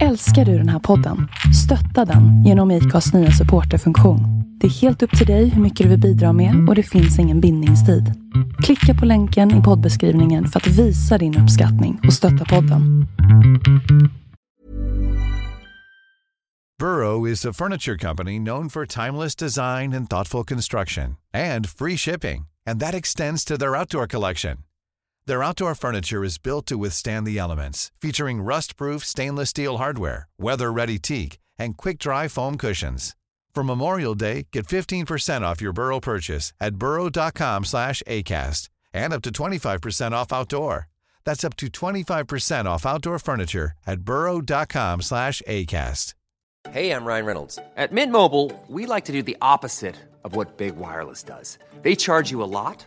Älskar du den här podden? Stötta den genom IKAs nya supporterfunktion. Det är helt upp till dig hur mycket du vill bidra med och det finns ingen bindningstid. Klicka på länken i poddbeskrivningen för att visa din uppskattning och stötta podden. Burrow is a furniture company known for timeless design and thoughtful construction and free shipping, and that extends to their outdoor collection. Their outdoor furniture is built to withstand the elements, featuring rust-proof stainless steel hardware, weather-ready teak, and quick-dry foam cushions. For Memorial Day, get 15% off your Burrow purchase at burrow.com/acast and up to 25% off outdoor. That's up to 25% off outdoor furniture at burrow.com/acast. Hey, I'm Ryan Reynolds. At Mint Mobile, we like to do the opposite of what Big Wireless does. They charge you a lot,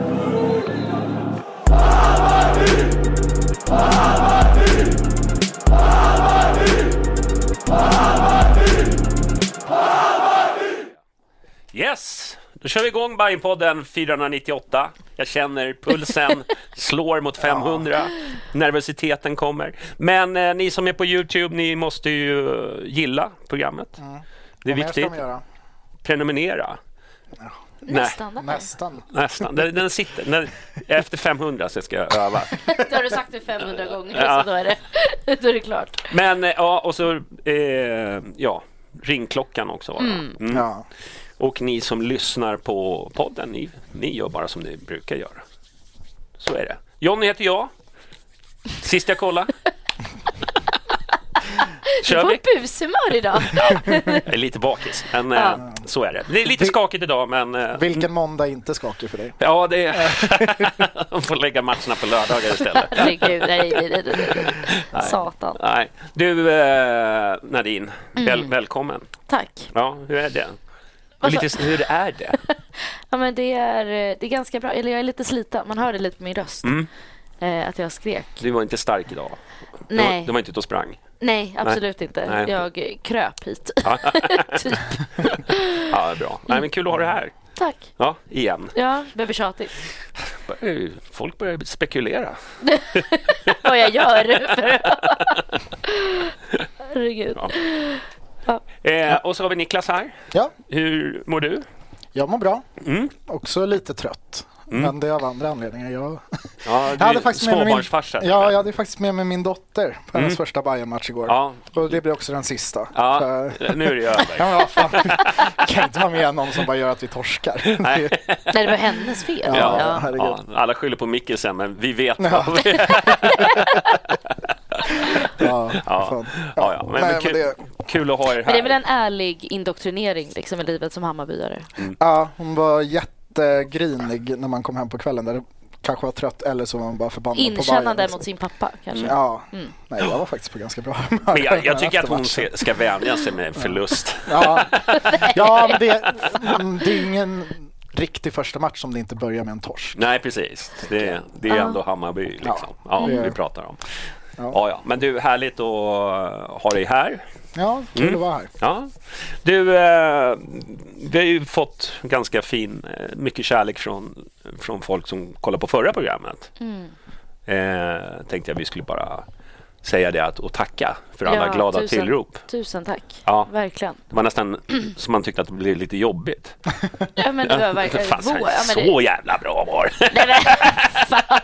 Yes, då kör vi igång Bajenpodden 498. Jag känner pulsen slår mot 500. Nervositeten kommer. Men eh, ni som är på Youtube, ni måste ju eh, gilla programmet. Mm. Det är Vad mer ska viktigt. de göra? Prenumerera. Nästan. va? Nästan. Nej, nästan. Den, den sitter. Den, efter 500 så ska jag öva. Det har du sagt det 500 gånger, Ja. så då är, det, då är det klart. Men eh, ja, och så eh, ja, ringklockan också. va? Mm. Ja. Och ni som lyssnar på podden, ni, ni gör bara som ni brukar göra. Så är det. Jonny heter jag. Sist jag kollade. Du Kör är på vi? bushumör idag. Jag är lite bakis, men Ja. eh, så är det. Det är lite skakigt idag, men eh, Vilken måndag är inte skakig för dig? ja, det är... De får lägga matcherna på lördagar istället. Herregud, nej, nej, nej, nej. Satan. Mm. Nej. Du, eh, Nadine, väl, välkommen. Tack. Ja, hur är det? Och Vad sa- lite, hur är det? Ja, men det, är, eh, det är ganska bra. Eller jag är lite sliten. Man hör det lite på min röst. Mm. Eh, att jag skrek. Du var inte stark idag. Du var, Nej, du var inte ute och sprang. nej absolut inte. Nej. Jag eh, kröp hit. Ja. typ. Ja, bra. Nej, men kul att ha det här. Tack. Ja, igen. Ja, behöver tjatigt. Börjar ju- Folk börjar spekulera. Vad jag gör. Herregud. Ja. Eh, och så har vi Niklas här. Ja, Hur mår du? jag mår bra. Mm. Också lite trött. Men det är av andra anledningar. Jag, Ja, jag hade faktiskt med mig min, småbarnsfarsa. ja, jag hade faktiskt med mig min dotter på hennes första Bayern-match igår. Mm. ja. Och det blir också den sista. ja, För, nu är det ja, över. men vad fan. Jag kan inte vara med någon som bara gör att vi torskar. Nej. Nej, det var hennes fel. Ja, Ja. herregud. Ja, alla skyller på Mikkelsen, men vi vet Ja. vad vi... Ja, Ja. fan. Ja, ja. Men, Nej, men men kul, det- kul att ha er Men det är väl här. en ärlig indoktrinering liksom, i livet som Hammarbyare. Ja, hon var jättegrinig när man kom hem på kvällen. Där det kanske var trött eller så var hon bara förbannad på Bayern. Inkännande mot sin pappa kanske. Ja, nej jag var faktiskt på ganska bra humör. Mm. Men jag, jag tycker efter att hon matchen. se- ska vänja sig med förlust. Ja, ja men det, mm, det är ingen riktig första match som det inte börjar med en torsk. Nej, precis. Det, det är ändå Hammarby liksom. ja, det är- vi pratar om. Ja. Ja, ja. Men du, härligt att ha dig här. Ja, kul Mm. att vara här. Ja. Du, eh, vi har ju fått ganska fin, eh, mycket kärlek från, från folk som kollar på förra programmet. Mm. Eh, tänkte jag vi skulle bara säga det att, och tacka för alla Ja, glada tusen, tillrop. Tusen tack. Ja. Verkligen. Det var nästan som man tyckte att det blev lite jobbigt. Ja, men det var verkligen... Fan, så, Vå- ja, men det- så jävla bra var det. Nej, men, fan.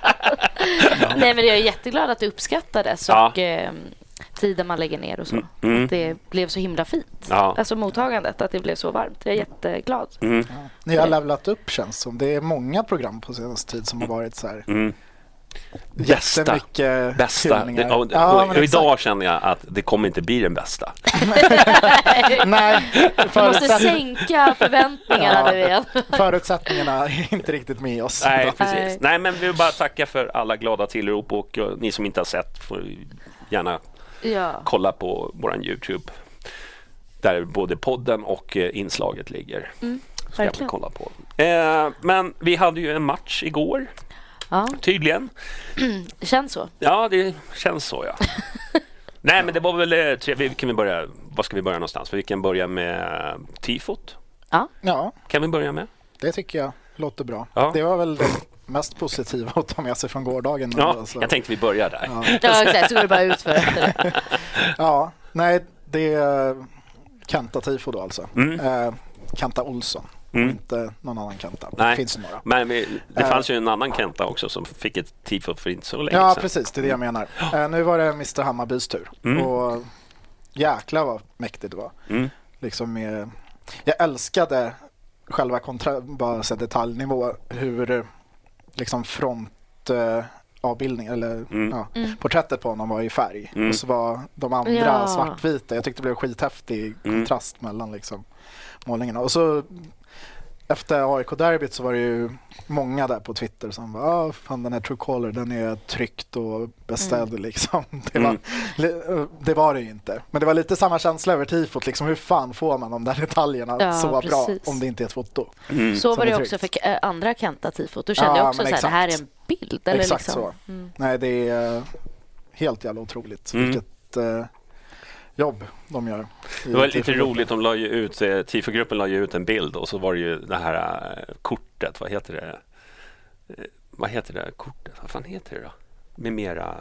Nej, men jag är jätteglad att det uppskattades Ja. Mm, och eh, tiden man lägger ner och så. Att det blev så himla fint. Ja. Mm. Alltså mottagandet, att det blev så varmt. Jag är jätteglad. Ni har levlat upp känns som. Det är många program på senaste tid som har varit så här. Mm. Bästa. Jättemycket Bästa. Det, hyllningar. och, och, Ja, men och idag exakt. känner jag att det kommer inte bli den bästa. Nej, Du måste förutsätt, sänka förväntningarna Ja. nu igen. förutsättningarna är inte riktigt med oss. Nej, idag. precis. Nej. Nej, men vi vill bara tacka för alla glada tillrop och eh, ni som inte har sett får gärna Ja. kolla på vår Youtube där både podden och eh, inslaget ligger. Mm, ska verkligen. vi kolla på. Eh, men vi hade ju en match igår, ja, tydligen. det känns så. Ja, det känns så ja. Nej, men det var väl eh, tre... vi- Kan vi börja... Var ska vi börja någonstans? Vi kan börja med eh, tifot. Ja, Kan vi börja med? det tycker jag låter bra. Ja. Det var väl det mest positiva att ta med sig från gårdagen. Ja, ändå, så- jag tänkte vi börjar där. Ja, exakt. Så går det bara ut för efter det. Ja, nej, det är Kanta-tifo då alltså. Mm. Eh, Kanta Olsson, inte någon annan Kanta. Nej. Det finns ju några. Men vi, det fanns ju en annan Kenta också som fick ett tifo för inte så länge Ja, sedan. Mm. precis, det är det jag menar. Eh, nu var det Mr Hammarbys tur. Och jäklar vad mäktigt det var. Mm. Liksom med, jag älskade själva kontra, bara så här detaljnivå, hur eh, liksom front eh, avbildning eller Mm. ja, Mm. porträttet på honom var i färg och så var de andra Ja. svartvita. Jag tyckte det blev skithäftig kontrast mellan liksom målningarna. Och så efter AIK-derbyt så var det ju många där på Twitter som var ah, fan den här Truecaller den är tryckt och beställd Mm. liksom. Det var, li- det var det ju inte. Men det var lite samma känsla över tifot liksom hur fan får man de där detaljerna Ja, så bra precis. om det inte är ett foto. Mm. Mm. Så var Som det är också för tryggt. eh, andra Kenta-tifot. Då kände Ja, jag också men så här, det här är en exakt. bild. Eller Exakt liksom. så. Nej det är eh, helt jävla otroligt Mm. vilket eh, jobb de gör. i Det var lite tifogruppen. roligt, de la ju ut, eh, TIFO-gruppen la ju ut en bild och så var det ju det här eh, kortet, vad heter det? Eh, Vad heter det här kortet? Vad fan heter det då? Med mera...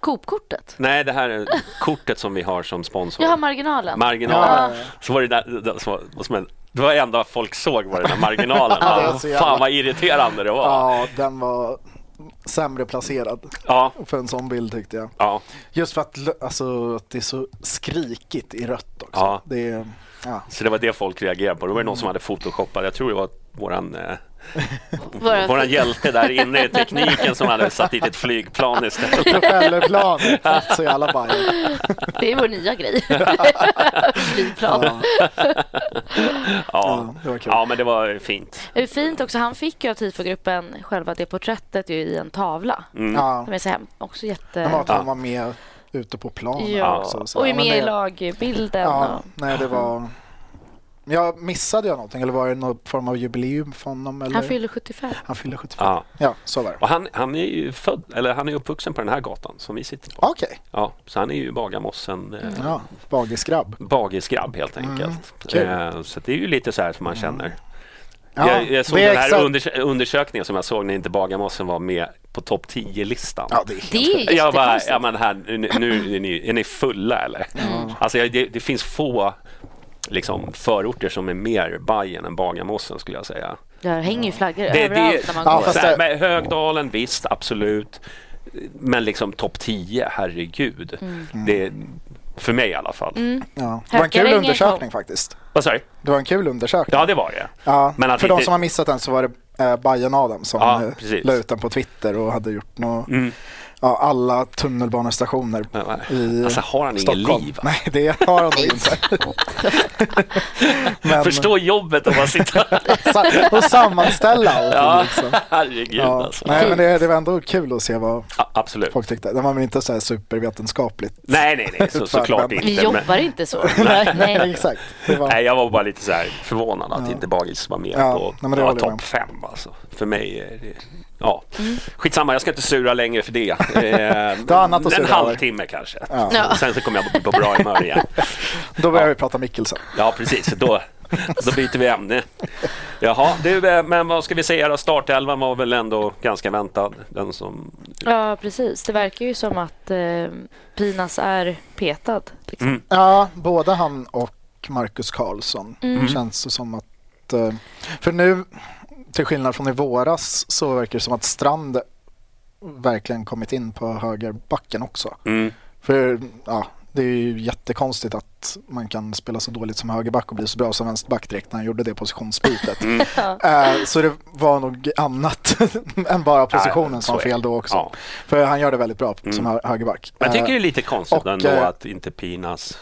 Coop-kortet. Nej, det här är kortet som vi har som sponsor. Jag har marginalen. Marginalen. Ja, ja, Så var det där, det där som var- vad som hände. Det var det enda folk såg var den där marginalen. Ja, det var Ah, så jävla- Fan vad irriterande det var. Ja, den var sämre placerad Ja, för en sån bild tyckte jag. ja. Just för att, l- alltså, att det är så skrikigt i rött också. Ja. Det är, ja. Så det var det folk reagerade på. Då var det någon som Mm. hade photoshoppat. Jag tror det var våran, eh, Våran- våran hjälte där inne i tekniken som hade satt dit ett flygplan istället. Propellerplanet, så jävla bajer. Det är vår nya grej. Flygplan. Ja. Ja, Ja, det var kul. ja men det var fint. Det är fint också. Han fick ju av tifogruppen själva det porträttet ju i en tavla. Ja. Som är så här, också jätte... Men att han Mm. var med ute på planen Ja. också. så- och är ja, men med i det- lagbilden. Ja, och... nej det var... Jag missade jag någonting eller var det någon form av jubileum för honom? Eller? Han fyller 75. han fyller 75. Ja. Ja, så var det. Och han, han är ju född, eller han är uppvuxen på den här gatan som vi sitter på. Okej, Ja, så han är ju Bagarmossen eh, ja, bagisgrabb. bagisgrabb helt enkelt. Mm. kul. Mm. Eh, så det är ju lite så här som man känner. Ja, jag, jag såg det är den här exakt- undersö- undersökningen som jag såg när inte Bagarmossen var med på topp 10-listan. Ja, det är helt Det är ju Jag bara, jättekonstigt. ja men här, nu, nu är, ni, är ni fulla eller? Mm. Alltså jag, det, det finns få liksom, förorter som är mer Bajen än Bagarmossen skulle jag säga. Där hänger ju flaggor Det, det, överallt när man Ja, går. fast så här, men det- Högdalen, visst, absolut. Men liksom topp 10, herregud. Mm. Mm. Det, för mig i alla fall. Ja. Det var en kul Hökarängen undersökning kom. faktiskt. Vad sa du? Det var en kul undersökning. Ja, det var det. Ja, Men att för inte- de som har missat den så var det eh, Bajen Adam som Ja, eh, precis. Mm. la ut den på Twitter och hade gjort nå, ja, alla tunnelbanestationer Ja, i alltså, har han ingen Stockholm. liv, va? Nej, det har han nog inte. Men, Förstå jobbet att bara sitta... sa- och sammanställa allt. ja, liksom. herregud ja. alltså. Nej, men det, det var ändå kul att se vad Ja, absolut. folk tyckte. Det var väl inte så här supervetenskapligt. Nej, nej, nej, så, såklart inte. Vi men- jobbar inte så. Nej. Nej, exakt. Det var, Nej, jag var bara lite så här förvånad att inte Bagis var med Ja, på nej, men det ja, håller topp jag med. fem. Alltså. För mig är det... Ja, skitsamma. Jag ska inte sura längre för det. Eh, Du har annat att en sura halvtimme kanske. Ja. Sen så kommer jag bli på bra humör igen. Då börjar vi prata Mikkelsen. Ja, precis. Då, då byter vi ämne. Jaha, du, eh, men vad ska vi säga då? Startelvan var väl ändå ganska väntad. Den som... Ja, precis. Det verkar ju som att eh, Pinas är petad. Liksom. Mm. Ja, både han och Marcus Karlsson känns det som att... eh, För nu, till skillnad från i våras, så verkar det som att Strand verkligen kommit in på högerbacken också. För ja, det är ju jättekonstigt att man kan spela så dåligt som högerback och bli så bra som vänsterback direkt när han gjorde det positionsbytet. Mm. Eh, Så det var nog annat än bara positionen Ja, som så var är fel det. då också. Ja. Mm. För han gör det väldigt bra som hö- högerback. Men jag tycker Eh, det är lite konstigt och, ändå eh, att inte Pinas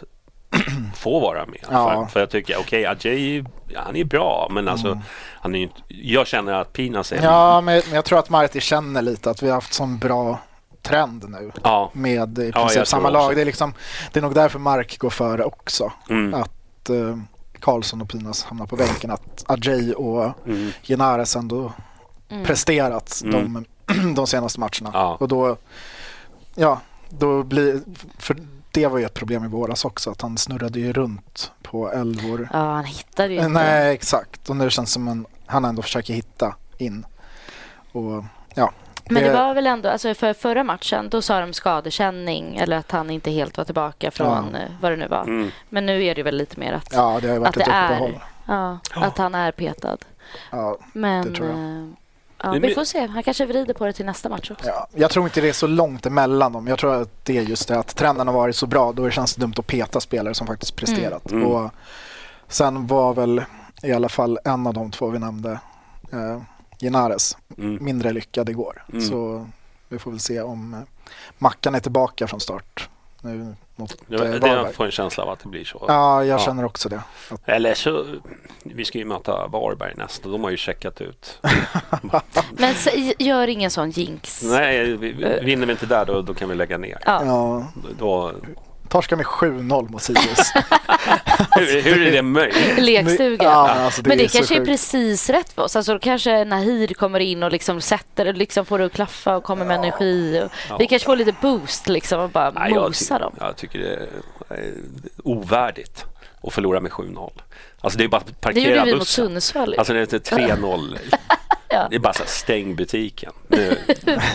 får vara med. Ja. Mm. För, för jag tycker, okej, Ajay, han är bra, men alltså, han är ju inte, jag känner att Pinas är... Ja, men men jag tror att Marti känner lite att vi har haft sån bra trend nu Ja, med i Ja, princip jag tror samma också. lag. Det är, liksom, det är nog därför Mark går före också. Mm. Att eh, Karlsson och Pinas hamnar på bänken. Att Ajay och mm. Genares ändå presterat Mm. de, de senaste matcherna. Ja. Och då, ja, då blir, för det var ju ett problem i våras också, att han snurrade ju runt på älvor. Ja, han hittade ju inte. Nej, exakt. Och nu känns det som att han ändå försöker hitta in. Och, ja, Men det var väl ändå, alltså för förra matchen då sa de skadekänning eller att han inte helt var tillbaka från eh, vad det nu var. Mm. Men nu är det väl lite mer att, ja. ja, det har ju varit att ett det är- uppehåll. att han är petad. Ja, Men Det tror jag. eh, ja, Men- vi får se, han kanske vrider på det till nästa match också. ja. Jag tror inte det är så långt emellan dem. Jag tror att det är just det att trenden har varit så bra. Då känns det dumt att peta spelare som faktiskt presterat. Mm. Och sen var väl i alla fall en av de två vi nämnde, eh, Genares, Mm. mindre lyckad igår. Mm. Så vi får väl se om eh, Mackan är tillbaka från start nu mot eh, Det, det jag Varberg. får en känsla av att det blir så. Ja, jag Ja. känner också det. Att, Eller så, vi ska ju möta Varberg nästa. De har ju checkat ut. Men se, gör ingen sån jinx. Nej, vi, vinner vi inte där då, då kan vi lägga ner. Ja. ja, Då, torskar med 7-0 mot Sirius. Alltså, hur, hur är det möjligt? Lekstuga. Ja, men alltså, det men det är så kanske är sjukt. precis rätt för oss. Alltså, då kanske Nahir kommer in och liksom sätter, liksom får det att klaffa och kommer med energi. Och Vi kanske får lite boost liksom och bara Nej, jag, mosa ty- dem. jag tycker det är eh, ovärdigt att förlora med 7-0. Alltså det är bara att Det parkera gjorde vi mot bussen. Sundsvall. ju. Alltså det är inte 3-0. Ja. Det är bara så här, stäng butiken. Nu,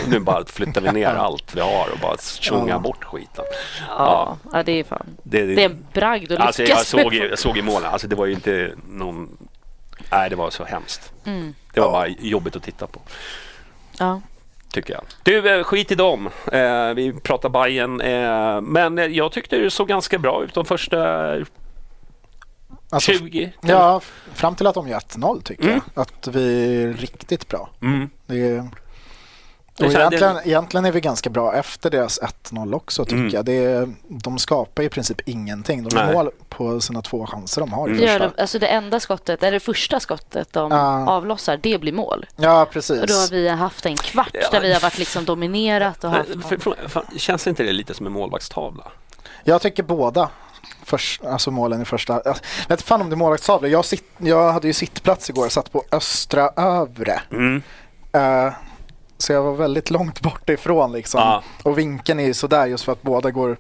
nu bara flyttar vi ner allt vi har och bara tjonga bort skiten. ja. ja, det är fan. Det är en bragd att lyckas Alltså jag såg, med. i- jag såg i målen, alltså det var ju inte någon... Nej, det var så hemskt. Mm. Det var bara jobbigt att titta på, Ja. tycker jag. Du, eh, skit i dem. Eh, vi pratar Bayern eh, Men eh, jag tyckte det såg ganska bra ut de första Alltså, 20. Ja, f- fram till att de gör 1-0 tycker Mm. jag. Att vi är riktigt bra. Mm. Det är... Det Och känns- egentligen, egentligen är vi ganska bra efter deras 1-0 också tycker Mm. jag. Det är, de skapar i princip ingenting. De Nej. Mm. gör mål på sina två chanser de har i Gör första. de, alltså det enda skottet, eller det första skottet de Ja. avlossar, det blir mål. Ja, Och då har precis. vi haft en kvart Ja. där vi har varit liksom dominerat och haft... Men, Eh, för, för, fan, känns inte det lite som en målvaktstavla? Jag tycker båda förs- alltså målen i första. Jag vet fan om det är målvaktstavlor. Jag, sitt, jag hade ju sittplats igår och satt på östra övre. Eh, så jag var väldigt långt bort ifrån liksom. Ja. Och vinkeln är ju sådär just för att båda går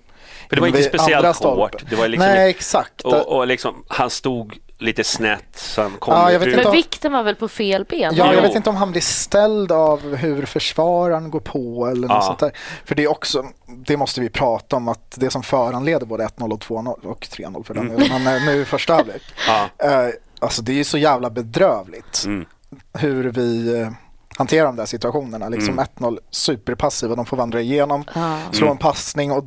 För det var in inte vid speciellt andra hårt. stolpen. Det var liksom Nej, inte- exakt. Och, och liksom, han stod lite snett, sen kom Ja, det jag vet ut. inte Men om- vikten var väl på fel ben? Ja, Jo. jag vet inte om han blir ställd av hur försvararen går på eller något Ja. sånt där. För det är också, det måste vi prata om, att det som föranleder både 1-0 och 2-0 och 3-0 för den delen, men eh, nu i första halvlek. Mm. Ja. Mm. Eh, Alltså det är ju så jävla bedrövligt hur vi eh, hanterar de där situationerna. Liksom Mm. 1-0, superpassiva, de får vandra igenom, Ja. slå en passning och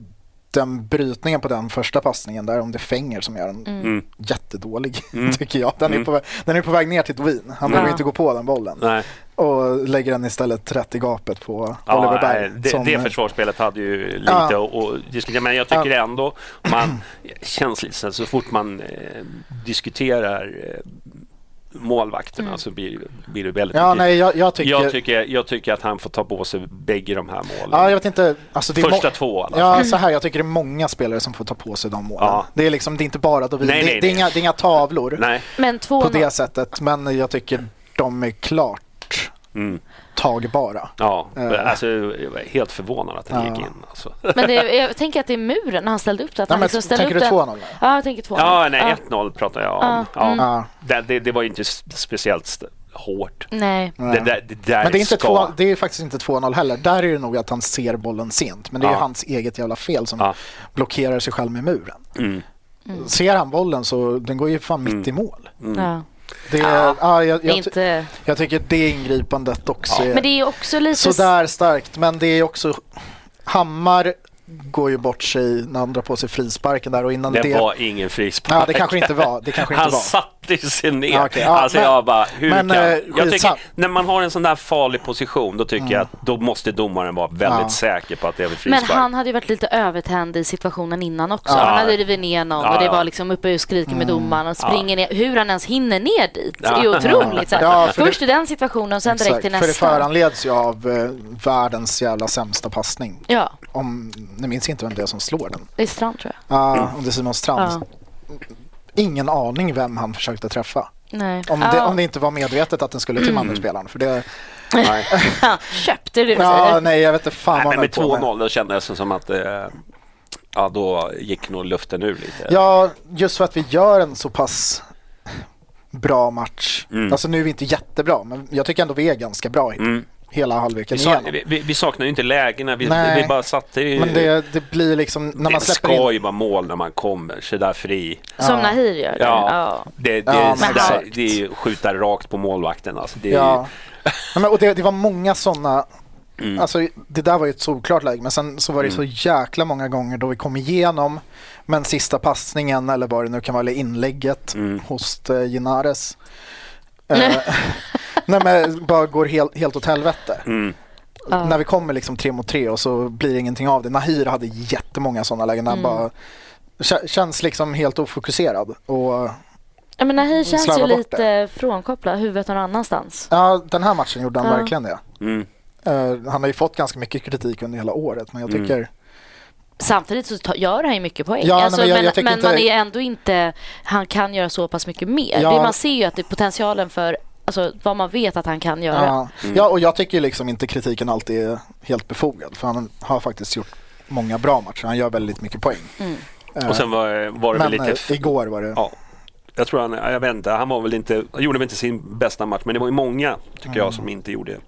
den brytningen på den första passningen där om det är Fänger som gör den Mm. jättedålig tycker jag. Den, är på, vä- den är på väg ner till Dwin. Han behöver Ja. inte gå på den bollen Nej. och lägger den istället rätt i gapet på Ja, Oliver nej, Berg. det, som- det försvarsspelet hade ju lite Ja. och, diskutera, men jag tycker ändå man känns lite så, här, så fort man eh, diskuterar eh, målvakterna så blir, blir det väldigt Mm. ja, mycket- nej, jag, jag tycker... jag, tycker, jag tycker att han får ta på sig bägge de här målen. Ja, jag vet inte. Alltså, det är Första må- två i alla fall. Ja, så här, jag tycker det är många spelare som får ta på sig de målen. Ja. Det, är liksom, det är inte bara Dovin, Nej, det, nej, det, är nej. inga, det är inga tavlor Nej, Men på 2-0 det sättet, men jag tycker de är klart Mm. tagbara. ja, Eh. alltså, jag var helt förvånad att han Ja. gick in. Alltså. Men det, jag tänker att det är muren när han ställde upp det. Att Ja, han men liksom ställde tänker upp du den- 2-0? Ja, jag tänker 2-0. Ja, nej, Ja. 1-0 pratar jag om. Ja. Ja. Det, det, det var ju inte s- speciellt st- hårt. Nej. Det, där- det där Men det är, inte ska... två, det är faktiskt inte 2-0 heller. Där är det nog att han ser bollen sent, men det är Ja. ju hans eget jävla fel som Ja. Mm. blockerar sig själv med muren. Mm. Ser han bollen så den går ju fan mitt i mål. Ja. Det är, ja. jag, jag, ty- inte... jag tycker det ingripandet också är, Men det är också lite... sådär starkt. Men det är också... Hammar går ju bort sig när han drar på sig frisparken där och innan Det det... var ingen frispark. Ja, det kanske inte var. Det kanske inte han var. satt Mattis är ner. Ja, okej. Ja, alltså men- jag bara, hur men, kan... eh, jag tycker, skitsam- när man har en sån där farlig position, då tycker jag att då måste domaren vara väldigt Mm. Ja. säker på att det är frispark. Men han hade ju varit lite övertänd i situationen innan också. Ja. Han hade rivit ner någon Ja, och det ja. var liksom uppe och skriker med domaren och springer ner. Hur han ens hinner ner dit Ja. är otroligt. Så här. Mm. Ja, för det- Först i den situationen och sen direkt Exakt, till För det nästa. föranleds ju av eh, världens jävla sämsta passning. Ja, Om, nu minns jag inte vem det är som slår den. det är Strand tror jag. Ah, Mm. om det är Simon Ja. Strand. Ingen aning vem han försökte träffa. Nej. Om det, Ja. Mm. om det inte var medvetet att den skulle till Malmöspelaren. För det, Ja, köpte du? ja, nej, jag vet inte fan Nej, vad men han höll med på med. 2-0 då kändes det som att eh, ja, då gick nog luften ur lite. Ja, just för att vi gör en så pass bra match. Mm. Alltså nu är vi inte jättebra, men jag tycker ändå vi är ganska bra hit, Mm. hela Vi, halvleken sa, igenom. vi, vi- vi saknade ju inte lägena, vi, Nej. vi bara satte ju... Men det, det, det blir liksom, när man släpper in... ska ju vara mål när man kommer, så där fri. Som Nahir gör. det. Ja, Ja. Det, det, Ja, är men så där, exakt. det är ju skjuta rakt på målvakten. Alltså, det är Ja. Nej, men, och det, det var många sådana. Mm. Alltså, det där var ju ett solklart läge, men sen så var det så jäkla många gånger då vi kom igenom, men sista passningen eller vad det nu kan vara, eller inlägget Mm. hos eh, Ginares. Eh, nej, men bara går helt, helt åt helvete. Mm. När vi kommer liksom tre mot tre och så blir det ingenting av det. Nahir hade jättemånga sådana lägen. Han bara kä- känns liksom helt ofokuserad. Och, Ja, men Nahir känns ju Slarva bort lite frånkopplad, huvudet någon annanstans. ja, den här matchen gjorde han Ja. verkligen det. ju, mm. Eh, han har ju fått ganska mycket kritik under hela året men jag Mm. tycker... Samtidigt så ta- gör han ju mycket poäng. Ja, nej, alltså, men men jag- men, jag tycker inte- man är ändå inte... Han kan göra så pass mycket mer. Ja. Det, man ser ju att det är potentialen för alltså, vad man vet att han kan göra. Ja, Mm. ja och jag tycker liksom inte kritiken alltid är helt befogad för han har faktiskt gjort många bra matcher. Han gör väldigt mycket poäng. Eh, Och sen var, var det men väl lite... eh, igår var det... Ja. Jag tror han, jag vet inte, han var väl inte, han gjorde väl inte sin bästa match, men det var ju många, tycker jag, som inte gjorde.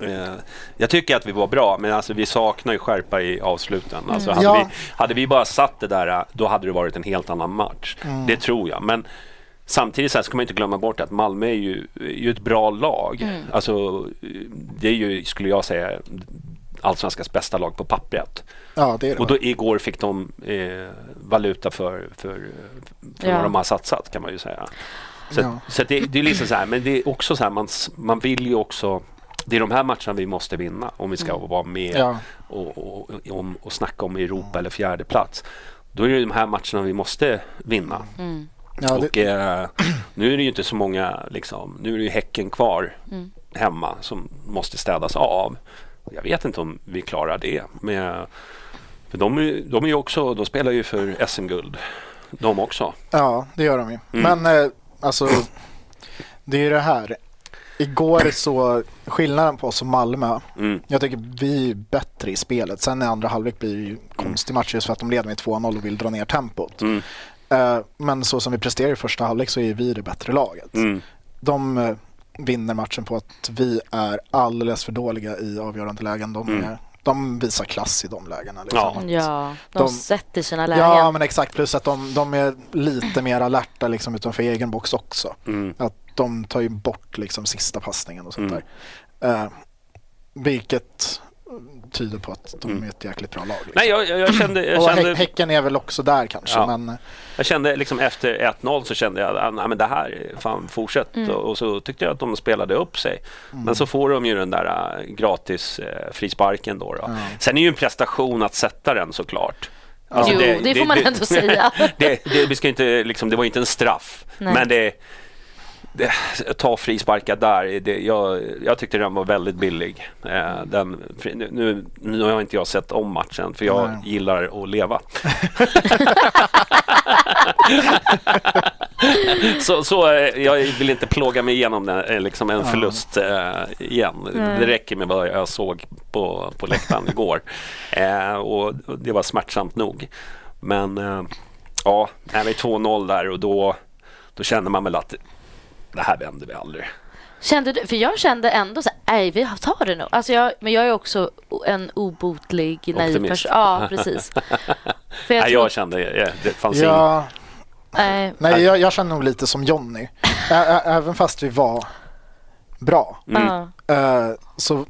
Eh, jag tycker att vi var bra, men alltså, vi saknar ju skärpa i avsluten. Alltså, hade, Ja. vi, hade vi bara satt det där, eh, då hade det varit en helt annan match. Det tror jag. Men samtidigt så här ska man inte glömma bort att Malmö är ju, är ju ett bra lag. Alltså, eh, det är ju, skulle jag säga, allsvenskans bästa lag på pappret. ja, det är det. Och då igår fick de eh, valuta för, för, för Ja. vad de har satsat kan man ju säga. Så, Ja. så att det, det är liksom så här, men det är också så här, man, s- man vill ju också det är de här matcherna vi måste vinna om vi ska vara med Mm. Ja. och, och, och, om- och snacka om Europa eller fjärde plats. Då är det de här matcherna vi måste vinna. ja, det, Och eh, nu är det ju inte så många, liksom, nu är det ju Häcken kvar Mm. hemma som måste städas av. Jag vet inte om vi klarar det. Men, för de, är ju- de är ju också, de spelar ju för SM-guld, de också. ja, det gör de ju. Men eh, alltså, det är ju det här. Igår så, skillnaden på oss och Malmö, Mm. jag tycker vi är bättre i spelet. Sen i andra halvlek blir det ju konstig match just för att de leder med 2-0 och vill dra ner tempot. Mm. Eh, Men så som vi presterar i första halvlek så är vi det bättre laget. Mm. De eh, vinner matchen på att vi är alldeles för dåliga i avgörande lägen. De, är, de visar klass i de lägena. Liksom. Ja. Mm, Ja, de, De- sätter sina lägen. Ja, men exakt. Plus att de, de är lite mer alerta liksom, utanför egen box också. Att de tar ju bort liksom, sista passningen och sånt Mm. där. Eh, vilket tyder på att de är ett jäkligt bra lag. Liksom. Mm. Nej, jag, jag, jag kände, jag och kände, Hä- Häcken är väl också där kanske. Ja. Men, jag kände liksom efter 1-0 så kände jag att ah, men det här, fan fortsätt. Mm. Och, och så tyckte jag att de spelade upp sig. Men så får de ju den där äh, gratis eh, frisparken då. då. Sen är ju en prestation att sätta den såklart. Alltså, Jo, det får man ändå säga. det, det, vi ska inte, liksom, det var inte en straff. Nej. Men det, det, ta frisparkar där. Det, jag, jag tyckte den var väldigt billig. Eh, den, fri- nu- nu, nu har inte jag sett om matchen för jag Nej. gillar att leva. så så eh, jag vill inte plåga mig igenom den, eh, liksom en förlust eh, igen. Det räcker med vad jag såg på, på läktaren igår. Eh, och det var smärtsamt nog. Men eh, ja, när vi är 2-0 där och då, då känner man väl att det här vänder vi aldrig. Kände du, för jag kände ändå så här, nej vi tar det nog. Alltså jag, men jag är också en obotlig naiv Optimist. person. Ja, precis. För Nej, tror- jag kände, eh, det fanns ingen... ja, nej, nej, jag, jag känner nog lite som Jonny. Ä- ä- Även fast vi var bra. Mm. ja. Eh, så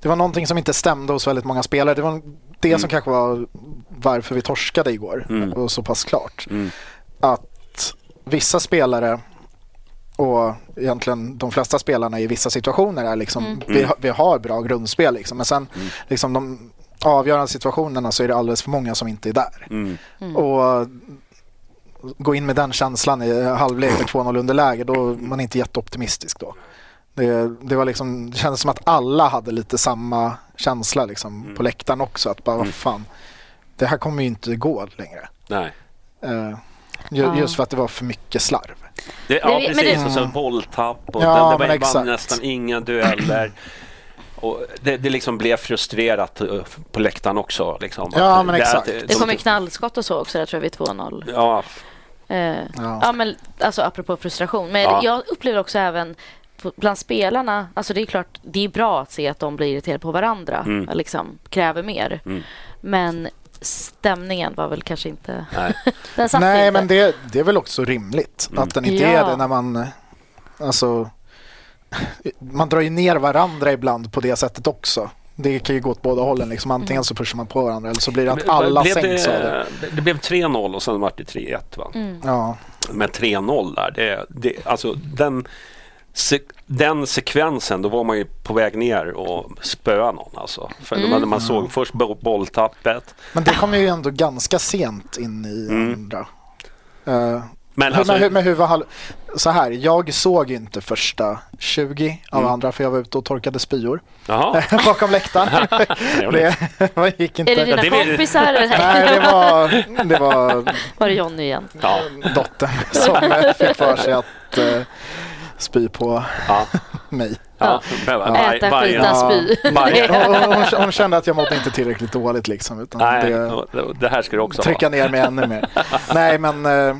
det var någonting som inte stämde hos väldigt många spelare. Det var det som kanske var varför vi torskade igår och så pass klart. Att vissa spelare Och egentligen de flesta spelarna i vissa situationer är liksom, vi, har- vi har bra grundspel liksom. Men sen liksom de avgörande situationerna så är det alldeles för många som inte är där. Mm, Och eh, gå in med den känslan i halvlek med 2-0 underläge, då är man inte jätteoptimistisk då. Det, det, var liksom, det kändes som att alla hade lite samma känsla liksom, på läktaren också. Att bara, vad fan, det här kommer ju inte gå längre. Nej. Eh, ju, Just för att det var för mycket slarv. Det, ja, men precis. det- Och så bolltapp och Ja, det, det men var, exakt. vann nästan inga dueller. Och det, det liksom blev frustrerat eh, på läktaren också. Liksom, Ja, Att men det- exakt. att Det de- kom ju knallskott och så också, där tror jag vid 2-0. Ja, Eh, ja. men alltså apropå frustration. Men Ja. jag upplever också även på- bland spelarna, alltså det är klart, det är bra att se att de blir irriterade på varandra, liksom kräver mer. Men stämningen var väl kanske inte... nej. Den satt Nej, inte. Mm. men det, det är väl också rimligt att den inte Ja. är det när man... eh, Alltså, man drar ju ner varandra ibland på det sättet också. Det kan ju gå åt båda hållen. Liksom. Mm. Antingen så pushar man på varandra eller så blir det att alla blev sänks av det. det, det blev 3-0 och sen var det 3-1. Va? Mm. Ja. Men 3-0 där, det, det, alltså den, se, den sekvensen, då var man ju på väg ner och spöa någon alltså. För mm. man, man såg först bo- bolltappet. Men det kommer ju ändå ganska sent in i andra. Eh, Mm. Men Men, alltså, men, hur- men hur var halv... Så här, jag såg ju inte första 20 av Mm. andra för jag var ute och torkade spyor jaha, bakom läktaren. det, det gick inte. Är det dina Ja, det är- kompisar? eller Nej, det var, det var var det Jonny igen? ja, dottern som fick för sig att eh, spy på ja, mig. ja, men var- Äta, varje- skita, spy. varje- Hon, hon, hon kände att jag mådde inte tillräckligt dåligt liksom. Utan Nej, det, och- och det här ska du också ha. trycka ner mig ännu mer. Nej, men, eh,